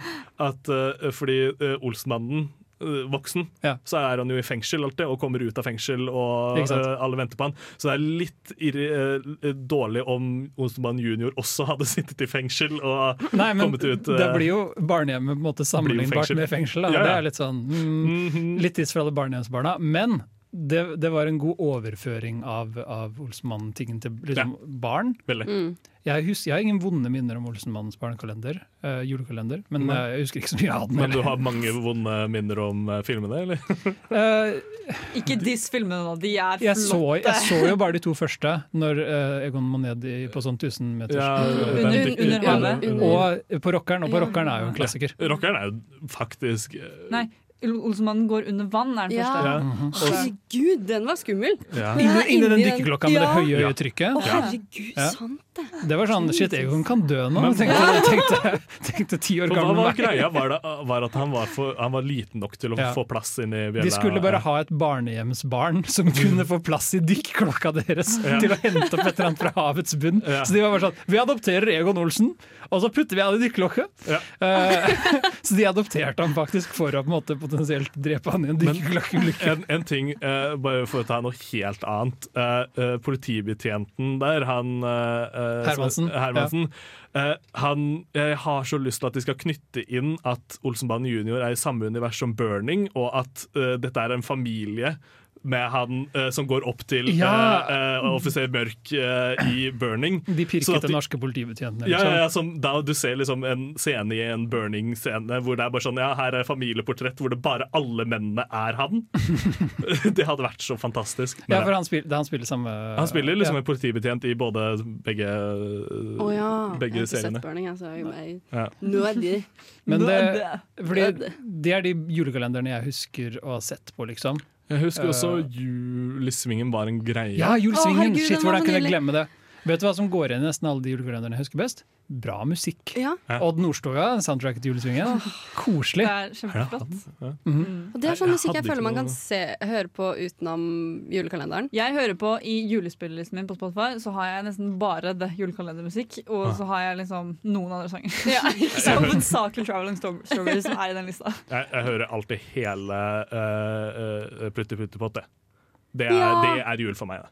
Speaker 1: at eh, fordi eh, Olsmannen eh, voksen,
Speaker 3: Ja.
Speaker 1: så er han jo i fengsel alltid, og kommer ut av fengsel, og
Speaker 3: Ikke sant?
Speaker 1: eh, alle venter på han. Så det er litt irri, eh, dårlig om Olsenmann junior også hadde sittet i fengsel og
Speaker 3: *laughs* Nei, men
Speaker 1: kommet ut eh,
Speaker 3: det blir jo barnehjemmet på en måte sammenlignbart
Speaker 1: fengsel.
Speaker 3: med fengsel. Da.
Speaker 1: Ja, ja.
Speaker 3: Det er litt sånn mm,
Speaker 1: mhm.
Speaker 3: Litt tips for alle barnehjemsbarna. Men det, det var en god overføring av, av Olsenmannen-tingen til liksom, barn.
Speaker 1: Veldig.
Speaker 2: Mm.
Speaker 3: Jeg, hus- jeg har ingen vonde minner om Olsenmannens barnekalender, eh, julekalender, men
Speaker 1: Nei.
Speaker 3: eh, jeg husker ikke så mye av den.
Speaker 1: Men du har mange vonde minner om eh, filmene, eller?
Speaker 3: Eh,
Speaker 4: Ikke diss filmene, da. De er
Speaker 3: jeg, så,
Speaker 4: flotte.
Speaker 3: jeg så jo bare de to første, når eh, Egon må ned i, på sånn 1000 meters
Speaker 4: Under-
Speaker 1: den dykker-
Speaker 4: under havet.
Speaker 1: under-
Speaker 3: Og eh, på rockeren, og på rockeren er jo en klassiker.
Speaker 1: Rockeren er jo faktisk eh,
Speaker 4: Nei, Olsenmannen går under vann, er den
Speaker 2: Ja.
Speaker 4: første.
Speaker 1: ja.
Speaker 3: Mhm.
Speaker 2: Herregud, den var skummel!
Speaker 1: Ja.
Speaker 2: Ja,
Speaker 3: Inni, inni den
Speaker 2: inni den-
Speaker 3: dykkerklokka med det
Speaker 2: Ja.
Speaker 3: høye
Speaker 1: Ja.
Speaker 3: høye trykket.
Speaker 2: Å, herregud,
Speaker 3: Ja.
Speaker 2: sant det!
Speaker 3: Det var sånn Shit, Egon kan dø nå,
Speaker 1: Men-
Speaker 3: tenkte jeg. Tenkte, tenkte ti år
Speaker 1: For hva
Speaker 3: gammel
Speaker 1: var
Speaker 3: meg.
Speaker 1: greia? Var, det, eh, var at han var, for, han var liten nok til å
Speaker 3: Ja.
Speaker 1: få plass inn i bjella?
Speaker 3: De skulle bare ha et barnehjemsbarn som
Speaker 1: Mm.
Speaker 3: kunne få plass i dykkerklokka deres til å hente opp et eller annet fra havets bunn.
Speaker 1: Ja.
Speaker 3: Så de var bare sånn Vi adopterer Egon Olsen, og så putter vi han i dykkerklokka.
Speaker 1: Ja.
Speaker 3: Eh, *laughs* så de adopterte han faktisk for å på en måte potensielt drepe han i en dykkerklokkeulykke.
Speaker 1: en, en ting, eh, bare for å ta noe helt annet. Eh, eh, politibetjenten der, han eh, eh,
Speaker 3: Hermansen.
Speaker 1: som- Hermansen eh, han, Jeg har så lyst til at de skal knytte inn at Olsenbanen junior er i samme univers som Burning, og at eh, dette er en familie. Med han eh, som går opp til
Speaker 3: Ja.
Speaker 1: eh, eh, offiser Mørk eh, i Burning. Sånn
Speaker 3: De
Speaker 1: at
Speaker 3: pirket
Speaker 1: de-
Speaker 3: den norske politibetjenten.
Speaker 1: Ja, ja,
Speaker 3: Liksom.
Speaker 1: ja som da du ser liksom en scene i en burning-scene hvor det er bare sånn Ja, her er familieportrett hvor det bare alle mennene er han. *laughs* det hadde vært så fantastisk. Men
Speaker 3: Ja, for han spiller, han spiller samme
Speaker 1: han spiller liksom
Speaker 3: ja.
Speaker 1: en politibetjent i både begge øh,
Speaker 2: Å ja.
Speaker 1: Begge
Speaker 2: jeg har ikke
Speaker 1: seriene.
Speaker 2: sett Burning, altså. Jeg,
Speaker 1: Ja.
Speaker 2: Nå er det
Speaker 3: Men det, fordi
Speaker 2: Død.
Speaker 3: det er de julekalenderne jeg husker å ha sett på, liksom.
Speaker 1: Jeg husker også
Speaker 3: Eh.
Speaker 1: Julissvingen var en greie.
Speaker 3: Ja,
Speaker 2: Å,
Speaker 3: julesvingen!
Speaker 2: herregud, den
Speaker 3: Shit,
Speaker 2: var
Speaker 3: hvordan
Speaker 2: så
Speaker 3: kunne jeg
Speaker 2: nydelig.
Speaker 3: glemme det? Vet du hva som går igjen i nesten alle de julekalenderne jeg husker best? Bra musikk.
Speaker 2: Ja.
Speaker 1: Ja.
Speaker 3: Odd Nordstoga, soundtracket til julesvingen.
Speaker 4: Det
Speaker 3: Koselig.
Speaker 4: er kjempeflott.
Speaker 2: Og det er
Speaker 1: Jeg
Speaker 2: sånn musikk jeg
Speaker 1: hadde ikke
Speaker 2: føler man
Speaker 1: noe-
Speaker 2: kan se, høre på utenom julekalenderen.
Speaker 4: Jeg hører på I julespillelisten min på Spotify så har jeg nesten bare det julekalendermusikk. Og
Speaker 3: Ah.
Speaker 4: så har jeg liksom noen andre
Speaker 2: *laughs*
Speaker 4: sanger. *laughs* Ja, ikke sant? Hovedsakelig Traveling Stor- Strawberries som er i den lista.
Speaker 1: Jeg, jeg hører alltid hele uh, Plutti Plutti Pott, det. Det er,
Speaker 2: Ja.
Speaker 1: det er jul for meg. det.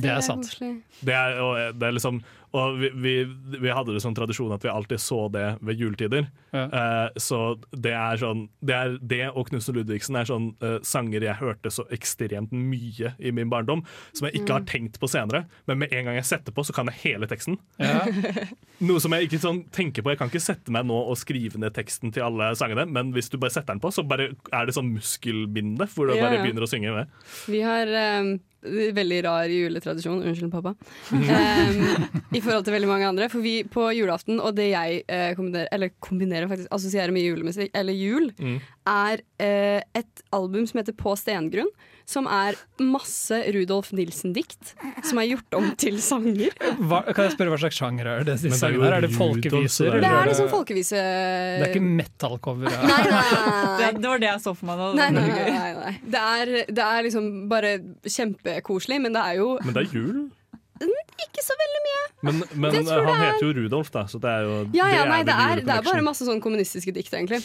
Speaker 3: Det er sant.
Speaker 2: koselig.
Speaker 1: Det er, og det er liksom, og vi, vi, vi hadde det som tradisjon at vi alltid så det ved juletider.
Speaker 3: Ja.
Speaker 1: Eh, så det er sånn Det, er det og Knutsen Ludvigsen er sånn eh, sanger jeg hørte så ekstremt mye i min barndom, som jeg ikke har
Speaker 2: Mm.
Speaker 1: tenkt på senere. Men med en gang jeg setter på, så kan jeg hele teksten.
Speaker 3: Ja.
Speaker 1: Noe som jeg ikke sånn tenker på. Jeg kan ikke sette meg nå og skrive ned teksten til alle sangene, men hvis du bare setter den på, så bare er det sånn muskelbinde, hvor du
Speaker 2: Ja,
Speaker 1: bare
Speaker 2: ja.
Speaker 1: begynner å synge med.
Speaker 2: Vi har eh, veldig rar juletradisjon, unnskyld
Speaker 3: *laughs*
Speaker 2: pappa, eh, i forhold til veldig mange andre. For vi på julaften, og det jeg eh, kombinerer, eller kombinerer faktisk, assosierer med julemusikk, eller jul,
Speaker 3: Mm.
Speaker 2: er eh, et album som heter På stengrunn, som er masse Rudolf Nilsen-dikt, som er gjort om til sanger.
Speaker 3: Hva, kan jeg spørre hva slags sjanger er det?
Speaker 1: Men
Speaker 3: disse
Speaker 1: det er jo
Speaker 3: sangene her? Er
Speaker 1: Rudolf,
Speaker 3: det
Speaker 1: så det
Speaker 3: folkeviser?
Speaker 1: er
Speaker 2: Det
Speaker 3: eller
Speaker 2: er liksom folkevise...
Speaker 3: det er ikke metal-cover? ja.
Speaker 2: Nei, nei,
Speaker 4: Det,
Speaker 2: nei.
Speaker 4: det var det jeg så for meg. da.
Speaker 2: Nei,
Speaker 3: *laughs*
Speaker 2: nei, nei, nei, nei. Det, er, det er liksom bare kjempekoselig, men det er jo
Speaker 1: Men det er jul.
Speaker 2: ikke så veldig mye.
Speaker 1: Men, men eh,
Speaker 2: Det tror
Speaker 1: han
Speaker 2: jeg er-
Speaker 1: heter jo Rudolf, da, så det er jo
Speaker 2: Ja, ja, nei,
Speaker 1: vel
Speaker 2: det er, det er
Speaker 1: juleconnection.
Speaker 2: bare masse sånn kommunistiske dikt, egentlig.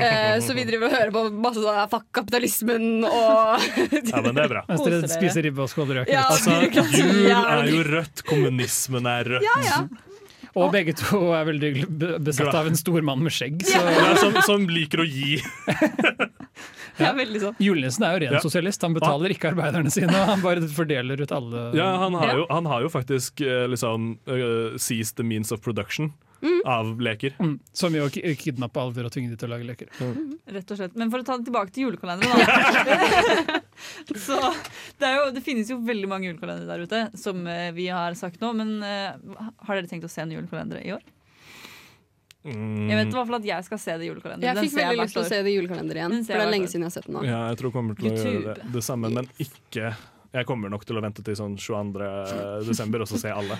Speaker 2: Eh, så vi driver og hører på masse sånn fuck kapitalismen og
Speaker 1: Ja, men det
Speaker 2: *laughs*
Speaker 1: er bra.
Speaker 3: Mens dere
Speaker 4: Koser dere.
Speaker 3: spiser ribbe og skåler røker.
Speaker 2: Ja.
Speaker 1: Altså, jul er
Speaker 2: Jævlig.
Speaker 1: jo rødt, kommunismen er rødt.
Speaker 2: Ja, ja.
Speaker 3: Og begge to er veldig gl- be- besatt
Speaker 1: Glad. sånn-
Speaker 3: av en stor mann med skjegg. Så
Speaker 1: Ja, som, som liker å gi.
Speaker 4: Det er veldig sånn.
Speaker 3: Julenissen er jo ren
Speaker 1: Ja.
Speaker 3: sosialist, han betaler ikke arbeiderne sine. Han bare fordeler ut alle
Speaker 1: Ja, han har,
Speaker 4: Ja.
Speaker 1: Jo, han har jo faktisk eh, liksom eh, seized the means of production av leker.
Speaker 3: Mm, Som jo ki- kidnappe alver og tvinge de til å lage leker.
Speaker 1: Mm.
Speaker 4: Rett og slett. Men for å ta det tilbake til
Speaker 3: *laughs*
Speaker 4: julekalenderen, da. så det, er jo, det finnes jo veldig mange julekalendere der ute, som eh, vi har sagt nå. Men eh, har dere tenkt å se en julekalender i år?
Speaker 1: Mm.
Speaker 4: Jeg vet i hvert fall at jeg skal se det i julekalenderen.
Speaker 2: Jeg
Speaker 4: Den
Speaker 2: fikk
Speaker 4: ser
Speaker 2: veldig
Speaker 4: hvert
Speaker 2: lyst til å
Speaker 4: år.
Speaker 2: se det i julekalender igjen,
Speaker 4: Den ser
Speaker 2: for det
Speaker 4: jeg
Speaker 2: er
Speaker 4: hvert
Speaker 2: lenge
Speaker 4: år.
Speaker 2: siden jeg har sett den nå.
Speaker 1: Ja, jeg tror jeg kommer til å
Speaker 4: YouTube.
Speaker 1: gjøre det, det samme, men ikke Jeg kommer nok til å vente til sånn 22. desember, og så se
Speaker 2: *laughs*
Speaker 1: alle.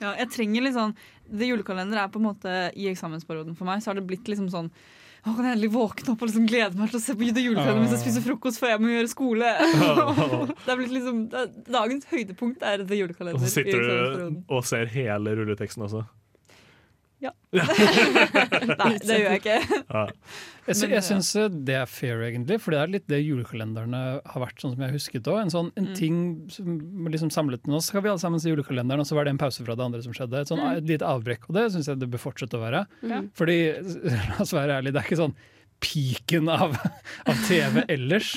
Speaker 4: Ja, jeg trenger litt sånn Det julekalender er på en måte I eksamensperioden for meg så har det blitt liksom sånn Å, kan jeg endelig våkne opp og liksom glede meg til å se på det julekalender mens jeg spiser frokost før jeg må gjøre skole. *laughs* det er blitt liksom det- Dagens høydepunkt er The julekalender.
Speaker 1: Og så
Speaker 4: i
Speaker 1: sitter du
Speaker 4: eksamensperioden.
Speaker 1: og ser hele rulleteksten også.
Speaker 4: *laughs* Nei, det gjør jeg ikke.
Speaker 1: Ja.
Speaker 3: Jeg, sy
Speaker 4: Men,
Speaker 3: jeg syns eh, det er fair, egentlig, for det er litt det julekalenderne har vært. sånn som jeg husket også. En, sånn, en ting som liksom samlet Nå skal vi alle sammen se julekalenderen, og så var det en pause fra det andre som skjedde. Et sånn eh, lite avbrekk. Og det syns jeg det bør fortsette å være.
Speaker 4: Ja.
Speaker 2: Mm.
Speaker 3: Fordi, *laughs* la oss være ærlig, det er ikke sånn piken av, av TV ellers.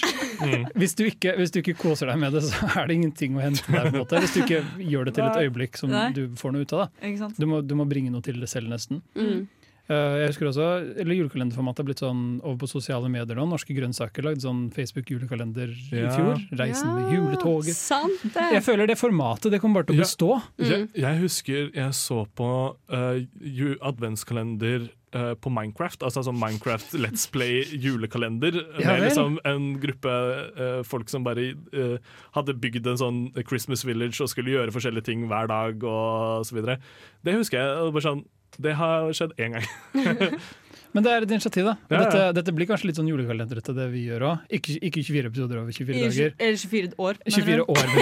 Speaker 1: Mm.
Speaker 3: Hvis, du ikke, hvis du ikke koser deg med det, så er det ingenting å hente der. på en måte. Hvis du ikke gjør det til et
Speaker 1: Nei.
Speaker 3: øyeblikk som
Speaker 4: Nei.
Speaker 3: du får noe ut av. Da.
Speaker 4: *laughs* Ikke sant?
Speaker 3: Du, må, du må bringe noe til det selv, nesten.
Speaker 2: Mm.
Speaker 3: Eh, Jeg husker også, eller Julekalenderformatet har blitt sånn over på sosiale medier nå. Norske Grønnsaker lagde sånn Facebook-julekalender i
Speaker 1: Ja.
Speaker 3: fjor. Reisen med juletoget.
Speaker 2: Sant
Speaker 3: Jeg
Speaker 2: det! Mm.
Speaker 3: føler det formatet det kommer bare til å
Speaker 1: Ja.
Speaker 3: bestå.
Speaker 1: Jeg, jeg husker jeg så på eh, ju- adventskalender eh, på Minecraft, altså sånn Minecraft Let's Play julekalender,
Speaker 3: *laughs* Ja
Speaker 1: med
Speaker 3: vel.
Speaker 1: liksom en gruppe eh, folk som bare eh, hadde bygd en sånn Christmas village og skulle gjøre forskjellige ting hver dag og så videre. Det husker jeg. og Bare sånn, det har skjedd én gang.
Speaker 3: Men det er et initiativ, da. Og
Speaker 1: Ja, ja.
Speaker 3: Dette, dette blir kanskje litt sånn julekalenderete, det vi gjør òg. Ikke, ikke 24 episoder over 24
Speaker 4: I tju-
Speaker 3: dager.
Speaker 4: eller 24 år. mener du?
Speaker 3: 24 år med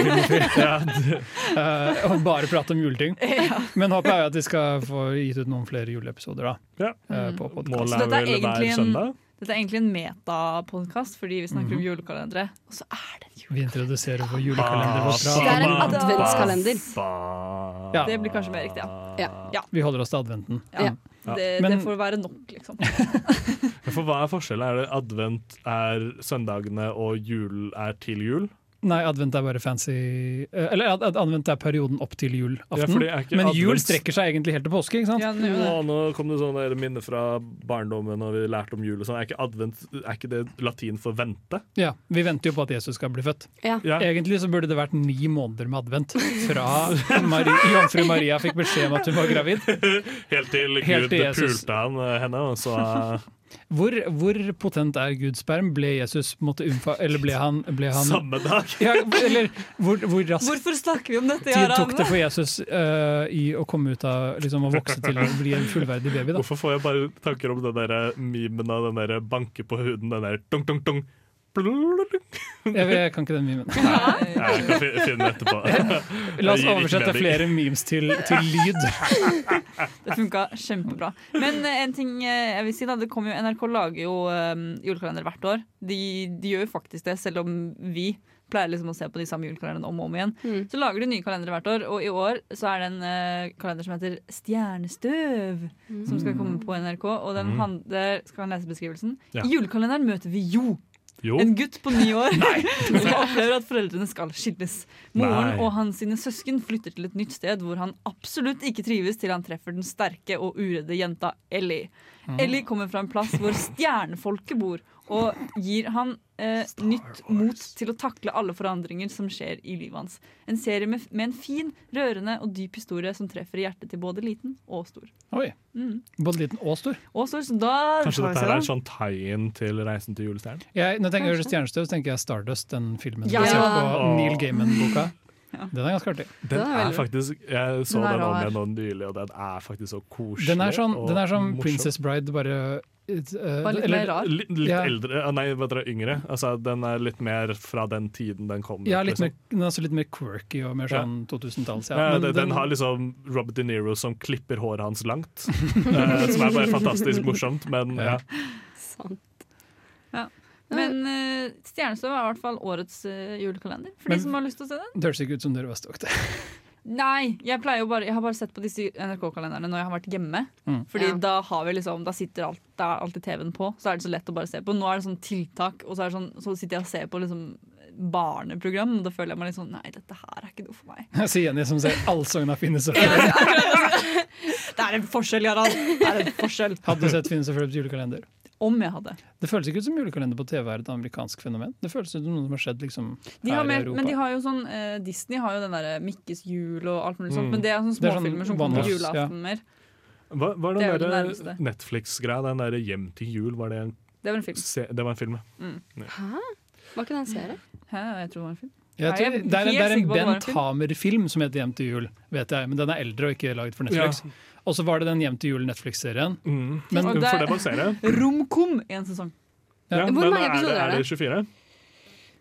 Speaker 1: *laughs*
Speaker 3: filmofil. Eh, og bare prate om juleting.
Speaker 4: *laughs*
Speaker 3: Men håpet er jo at vi skal få gitt ut noen flere juleepisoder da,
Speaker 1: Ja.
Speaker 3: eh, på podkast.
Speaker 1: Målet
Speaker 4: Så
Speaker 1: er
Speaker 4: dette er
Speaker 1: vel hver
Speaker 4: egentlig en-
Speaker 1: søndag.
Speaker 4: Dette er egentlig en metapodkast, fordi vi snakker om
Speaker 1: Mhm.
Speaker 4: julekalendere. Og så er det en jule...
Speaker 3: Vi introduserer vår julekalender.
Speaker 1: Ah,
Speaker 3: vår
Speaker 2: Det er en
Speaker 3: drama.
Speaker 2: adventskalender.
Speaker 3: Ja.
Speaker 4: Det blir kanskje mer riktig, ja.
Speaker 2: Ja.
Speaker 3: Vi holder oss til adventen.
Speaker 4: ja.
Speaker 1: Ja.
Speaker 4: Det, det
Speaker 3: Men-
Speaker 4: får være nok, liksom.
Speaker 1: Men For hva er forskjellen? Er det advent er søndagene og jul er til jul?
Speaker 3: Nei, advent er bare fancy eh, Eller ad- ad- advent er perioden opp til
Speaker 1: Ja,
Speaker 3: julaften.
Speaker 1: fordi er ikke
Speaker 3: Men jul
Speaker 1: advent-
Speaker 3: strekker seg egentlig helt til påske, ikke sant?
Speaker 4: Ja, det gjør det.
Speaker 1: Å, nå kom det sånne minner fra barndommen og vi lærte om jul og sånn. Er ikke advent er ikke det latin for vente?
Speaker 3: Ja, Vi venter jo på at Jesus skal bli født.
Speaker 2: Ja.
Speaker 1: Ja.
Speaker 3: Egentlig så burde det vært ni måneder med advent
Speaker 1: *laughs*
Speaker 3: fra Mari, jomfru Maria fikk beskjed om at hun var gravid.
Speaker 1: Helt til Gud
Speaker 3: Helt til Jesus.
Speaker 1: pulte han, eh, henne, og
Speaker 3: *laughs*
Speaker 1: så *laughs* eh,
Speaker 3: Hvor, hvor potent er Guds sperm? Ble Jesus måtte unnfa... Eller ble han, ble han
Speaker 1: samme dag.
Speaker 3: ja, Eller hvor, hvor raskt
Speaker 4: Hvorfor snakker vi om dette,
Speaker 3: tid Altså, tok det
Speaker 4: Jarand?
Speaker 3: for Jesus eh, i å komme ut av liksom, å vokse til å bli en fullverdig baby? da?
Speaker 1: Hvorfor får jeg bare tanker om den der eh, memen av den der eh, banke på huden, den der dunk, dunk, dunk. Blulululung.
Speaker 3: Jeg, jeg kan ikke den memen.
Speaker 1: Nei, Jeg kan fi- finne
Speaker 3: *laughs*
Speaker 1: etterpå.
Speaker 3: La oss
Speaker 1: Det gir ikke
Speaker 3: oversette
Speaker 1: mening.
Speaker 3: flere memes til, til lyd.
Speaker 4: Det funka kjempebra. Men eh, en ting eh, jeg vil si da, det kommer jo, NRK lager jo eh, julekalender hvert år. De, de gjør jo faktisk det, selv om vi pleier liksom å se på de samme julekalenderne om og om igjen.
Speaker 2: Mm.
Speaker 4: Så lager de nye kalendere hvert år, og i år så er det en eh, kalender som heter Stjernestøv, som skal komme på NRK. Og den handler Skal han lese beskrivelsen?
Speaker 1: Ja.
Speaker 4: I julekalenderen møter vi Jo.
Speaker 1: Jo.
Speaker 4: En gutt på ni
Speaker 1: *laughs*
Speaker 4: år *laughs* som opplever at foreldrene skal skilles. Moren
Speaker 1: Nei.
Speaker 4: og hans sine søsken flytter til et nytt sted hvor han absolutt ikke trives til han treffer den sterke og uredde jenta Ellie.
Speaker 1: Mm.
Speaker 4: Ellie kommer fra en plass hvor stjernefolket bor, og gir han eh, nytt mot til å takle alle forandringer som skjer i livet hans. En serie med, med en fin, rørende og dyp historie som treffer i hjertet til både liten og stor.
Speaker 3: *laughs* Oi. Både liten og stor.
Speaker 4: Og stor, så da
Speaker 1: Kanskje dette her
Speaker 4: tar vi seg
Speaker 3: altså.
Speaker 1: er
Speaker 4: da.
Speaker 1: en sånn tie-in til Reisen til julestjernen?
Speaker 3: Jeg, når jeg tenker Stjernestøv, så tenker jeg Stardust, den filmen
Speaker 4: Ja.
Speaker 3: basert på Neil Gaiman-boka. Den er ganske artig.
Speaker 1: Den
Speaker 2: Den er
Speaker 1: er
Speaker 2: veldig-
Speaker 1: faktisk, Jeg så
Speaker 4: Den er
Speaker 1: den om
Speaker 4: rar.
Speaker 1: igjen nå nylig, og den er faktisk så koselig.
Speaker 3: Den er, sånn,
Speaker 1: og
Speaker 3: den er som
Speaker 1: morsom.
Speaker 3: Princess Bride, bare et, eh,
Speaker 4: Bare litt
Speaker 3: eller-
Speaker 4: mer rar.
Speaker 1: Li- Litt
Speaker 3: Ja.
Speaker 1: eldre, ah, nei, hva heter det, yngre. Altså, den er litt mer fra den tiden den kom.
Speaker 3: Ja, litt
Speaker 1: liksom.
Speaker 3: mer, den er også litt mer quirky og mer sånn 2000-talls. Ja.
Speaker 1: Ja,
Speaker 3: Men
Speaker 1: den, den har liksom Robert De Niro som klipper håret hans
Speaker 3: *laughs*
Speaker 1: langt. eh, som er bare fantastisk morsomt, men ja.
Speaker 2: Sant.
Speaker 4: Men eh, Stjernestøv er i hvert fall årets eh, julekalender. For
Speaker 3: Men-
Speaker 4: de som har lyst til å se den.
Speaker 3: det høres ikke ut som dere var stokte.
Speaker 4: Nei, jeg pleier jo bare Jeg har bare sett på disse NRK-kalenderne når jeg har vært hjemme.
Speaker 3: Mm.
Speaker 4: Fordi
Speaker 2: Ja.
Speaker 4: da har vi liksom Da sitter alt, da er alltid TV-en på, så er det så lett å bare se på. Nå er det sånn tiltak, og så, er det sånn, så sitter jeg og ser på liksom barneprogram, og da føler jeg meg litt sånn Nei, dette her er ikke noe for *laughs* meg.
Speaker 3: *laughs* Jeg sier Jenny som ser Allsogna finnes og
Speaker 4: Det er en forskjell, Jarald! Det er en forskjell.
Speaker 3: Hadde du sett Finnes og Philips julekalender?
Speaker 4: Om jeg hadde.
Speaker 3: Det føles ikke ut som julekalender på TV er et amerikansk fenomen. Det føles ut som noe som har skjedd liksom,
Speaker 4: De har
Speaker 3: her i
Speaker 4: mer,
Speaker 3: Europa.
Speaker 4: men de har jo sånn eh, Disney har jo den derre Mikkes jul og alt mulig sånt,
Speaker 1: Mm.
Speaker 4: men det er sånne
Speaker 3: Det er sånn
Speaker 4: småfilmer som kommer på
Speaker 3: one-offs, ja.
Speaker 4: julaften mer.
Speaker 1: Hva, hva
Speaker 4: Det er
Speaker 1: er
Speaker 4: jo
Speaker 1: den
Speaker 4: det
Speaker 1: der
Speaker 4: nærmeste.
Speaker 1: Netflix-greia? Den der 'Hjem til jul', var det en,
Speaker 4: Det er vel en film.
Speaker 1: se det var en film? ja.
Speaker 2: Hæ? Var ikke det en serie?
Speaker 4: Hæ, jeg tror det var en film.
Speaker 3: Jeg
Speaker 4: Ja, jeg
Speaker 3: tror,
Speaker 4: er
Speaker 3: det, er, det
Speaker 4: helt
Speaker 3: er en
Speaker 4: sikker på at det var en
Speaker 3: Bent
Speaker 4: film.
Speaker 3: Hamer-film som heter 'Hjem til jul', vet jeg, men den er eldre og ikke laget for Netflix. Og så var det den 'Hjem til jul'-Netflix-serien.
Speaker 1: Mm.
Speaker 3: Men-
Speaker 1: For
Speaker 4: Og der-
Speaker 1: det var serie.
Speaker 4: Romkom i en sesong.
Speaker 1: Ja, men
Speaker 2: Hvor mange
Speaker 1: er
Speaker 2: episoder er
Speaker 1: det? Er det 24?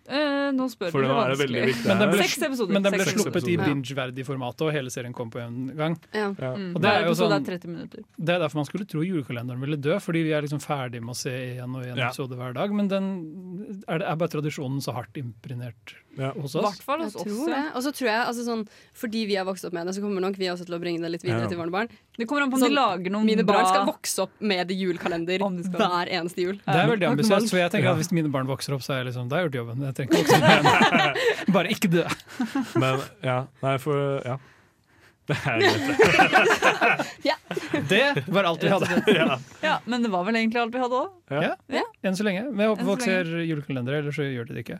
Speaker 4: Eh, nå spør
Speaker 1: For
Speaker 4: du
Speaker 1: nå er det
Speaker 4: vanskelig.
Speaker 1: veldig
Speaker 4: *laughs*
Speaker 1: viktig.
Speaker 3: Men den
Speaker 1: her.
Speaker 3: ble,
Speaker 4: Seks episoder.
Speaker 3: men den ble
Speaker 4: Seks
Speaker 3: sluppet i
Speaker 1: episoder.
Speaker 2: Ja.
Speaker 3: binge-verdig format, og hele serien kom på en gang.
Speaker 2: Ja.
Speaker 1: Ja.
Speaker 4: Mm.
Speaker 3: Og det
Speaker 4: Hver
Speaker 3: er jo
Speaker 4: episode
Speaker 3: sånn-
Speaker 4: er 30 minutter.
Speaker 3: Det er derfor man skulle tro julekalenderen ville dø, fordi vi er liksom ferdig med å se én og én
Speaker 1: Ja.
Speaker 3: episode hver dag. Men den er, det- er bare tradisjonen så hardt imprinert
Speaker 1: Ja.
Speaker 3: hos
Speaker 4: I
Speaker 3: oss.
Speaker 4: hvert fall
Speaker 2: Jeg
Speaker 4: hos oss.
Speaker 2: tror det.
Speaker 4: ja.
Speaker 2: Og så tror jeg, altså sånn, fordi vi har vokst opp med det, så kommer nok vi også til å bringe det litt videre
Speaker 1: Ja.
Speaker 2: til våre barn.
Speaker 4: Det kommer an på om
Speaker 2: Sånn,
Speaker 4: de lager noen
Speaker 2: Mine
Speaker 4: bra
Speaker 2: barn skal vokse opp med det julekalender
Speaker 4: Om de skal.
Speaker 2: hver eneste jul.
Speaker 3: Det er veldig
Speaker 4: Ja.
Speaker 3: ambisiøst, for jeg tenker at hvis mine barn vokser opp, så er jeg liksom, da har jeg gjort jobben. Jeg trenger ikke vokse opp
Speaker 4: *laughs*
Speaker 3: igjen. Bare ikke dø.
Speaker 1: Men ja, nei, for ja. Det er greit.
Speaker 3: Det var alt vi hadde.
Speaker 1: Ja.
Speaker 4: *laughs* Ja, Men det var vel egentlig alt vi hadde òg.
Speaker 3: Enn så lenge. Men jeg håper
Speaker 4: Enn så
Speaker 3: folk ser julekalendere, eller så gjør de det ikke.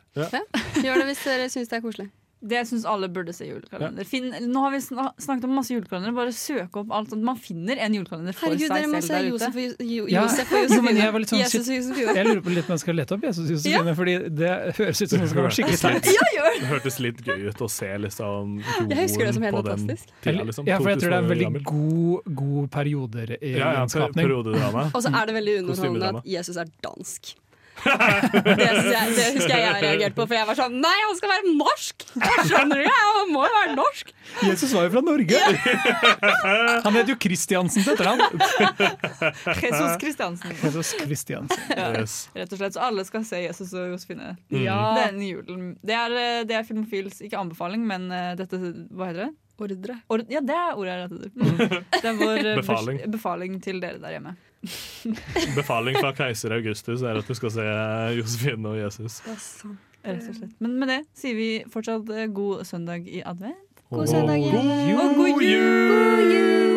Speaker 2: Gjør det hvis dere syns det er koselig.
Speaker 4: Det syns alle burde se julekalender. Finn, nå har vi sna snakket om masse julekalendere. Bare søk opp alt sånt. Man finner en julekalender for
Speaker 2: Herregud,
Speaker 4: seg
Speaker 2: dere må
Speaker 4: selv
Speaker 2: se
Speaker 4: der ute.
Speaker 2: Josef og, jo jo
Speaker 3: Ja.
Speaker 2: Josef og
Speaker 3: *laughs* Jo, men
Speaker 2: Josefine.
Speaker 3: jeg var litt sånn
Speaker 2: Jesus og Josefine.
Speaker 3: Jeg lurer på litt om jeg skal lete opp Jesus Josefine, fordi det høres ut som noe som kan være skikkelig teit.
Speaker 1: Ja, gjør. Det hørtes litt gøy ut å se liksom jorden
Speaker 2: Jeg husker det som helt
Speaker 1: på den
Speaker 2: fantastisk.
Speaker 1: tida, liksom.
Speaker 3: Ja, for jeg tror det er
Speaker 1: 2000 år
Speaker 3: en veldig
Speaker 1: gammel.
Speaker 3: god, god
Speaker 1: ja, ja, per-
Speaker 3: perioderegenskapning.
Speaker 2: *laughs*
Speaker 1: periodedrama.
Speaker 2: Og så er det veldig underholdende
Speaker 1: Kostymedrama.
Speaker 2: at Jesus er dansk. Det, synes jeg, det husker jeg jeg reagerte på, for jeg var sånn Nei, han skal være norsk! Jeg skjønner det, han må jo være norsk!
Speaker 3: Jesus var jo fra Norge! Han het jo Kristiansen til etternavn.
Speaker 4: *laughs* Jesus Kristiansen.
Speaker 3: Jesus Kristiansen.
Speaker 1: Yes.
Speaker 4: Rett og slett, Så alle skal se Jesus og Josefine
Speaker 2: Ja.
Speaker 4: denne julen. Det er, eh, det er Filmofils ikke anbefaling, men eh, dette Hva heter det?
Speaker 2: Ordre.
Speaker 4: Or ja, det er ordet jeg retter etter. *laughs* Det er vår eh, bes-
Speaker 1: Befaling.
Speaker 4: befaling til dere der hjemme.
Speaker 1: Befaling fra keiser Augustus er at du skal se Josefine og Jesus.
Speaker 4: Rett og slett. Men med det sier vi fortsatt eh, god søndag i advent.
Speaker 2: God søndag.
Speaker 1: Og god
Speaker 2: Jenny.
Speaker 4: Og god jul!
Speaker 2: God jul!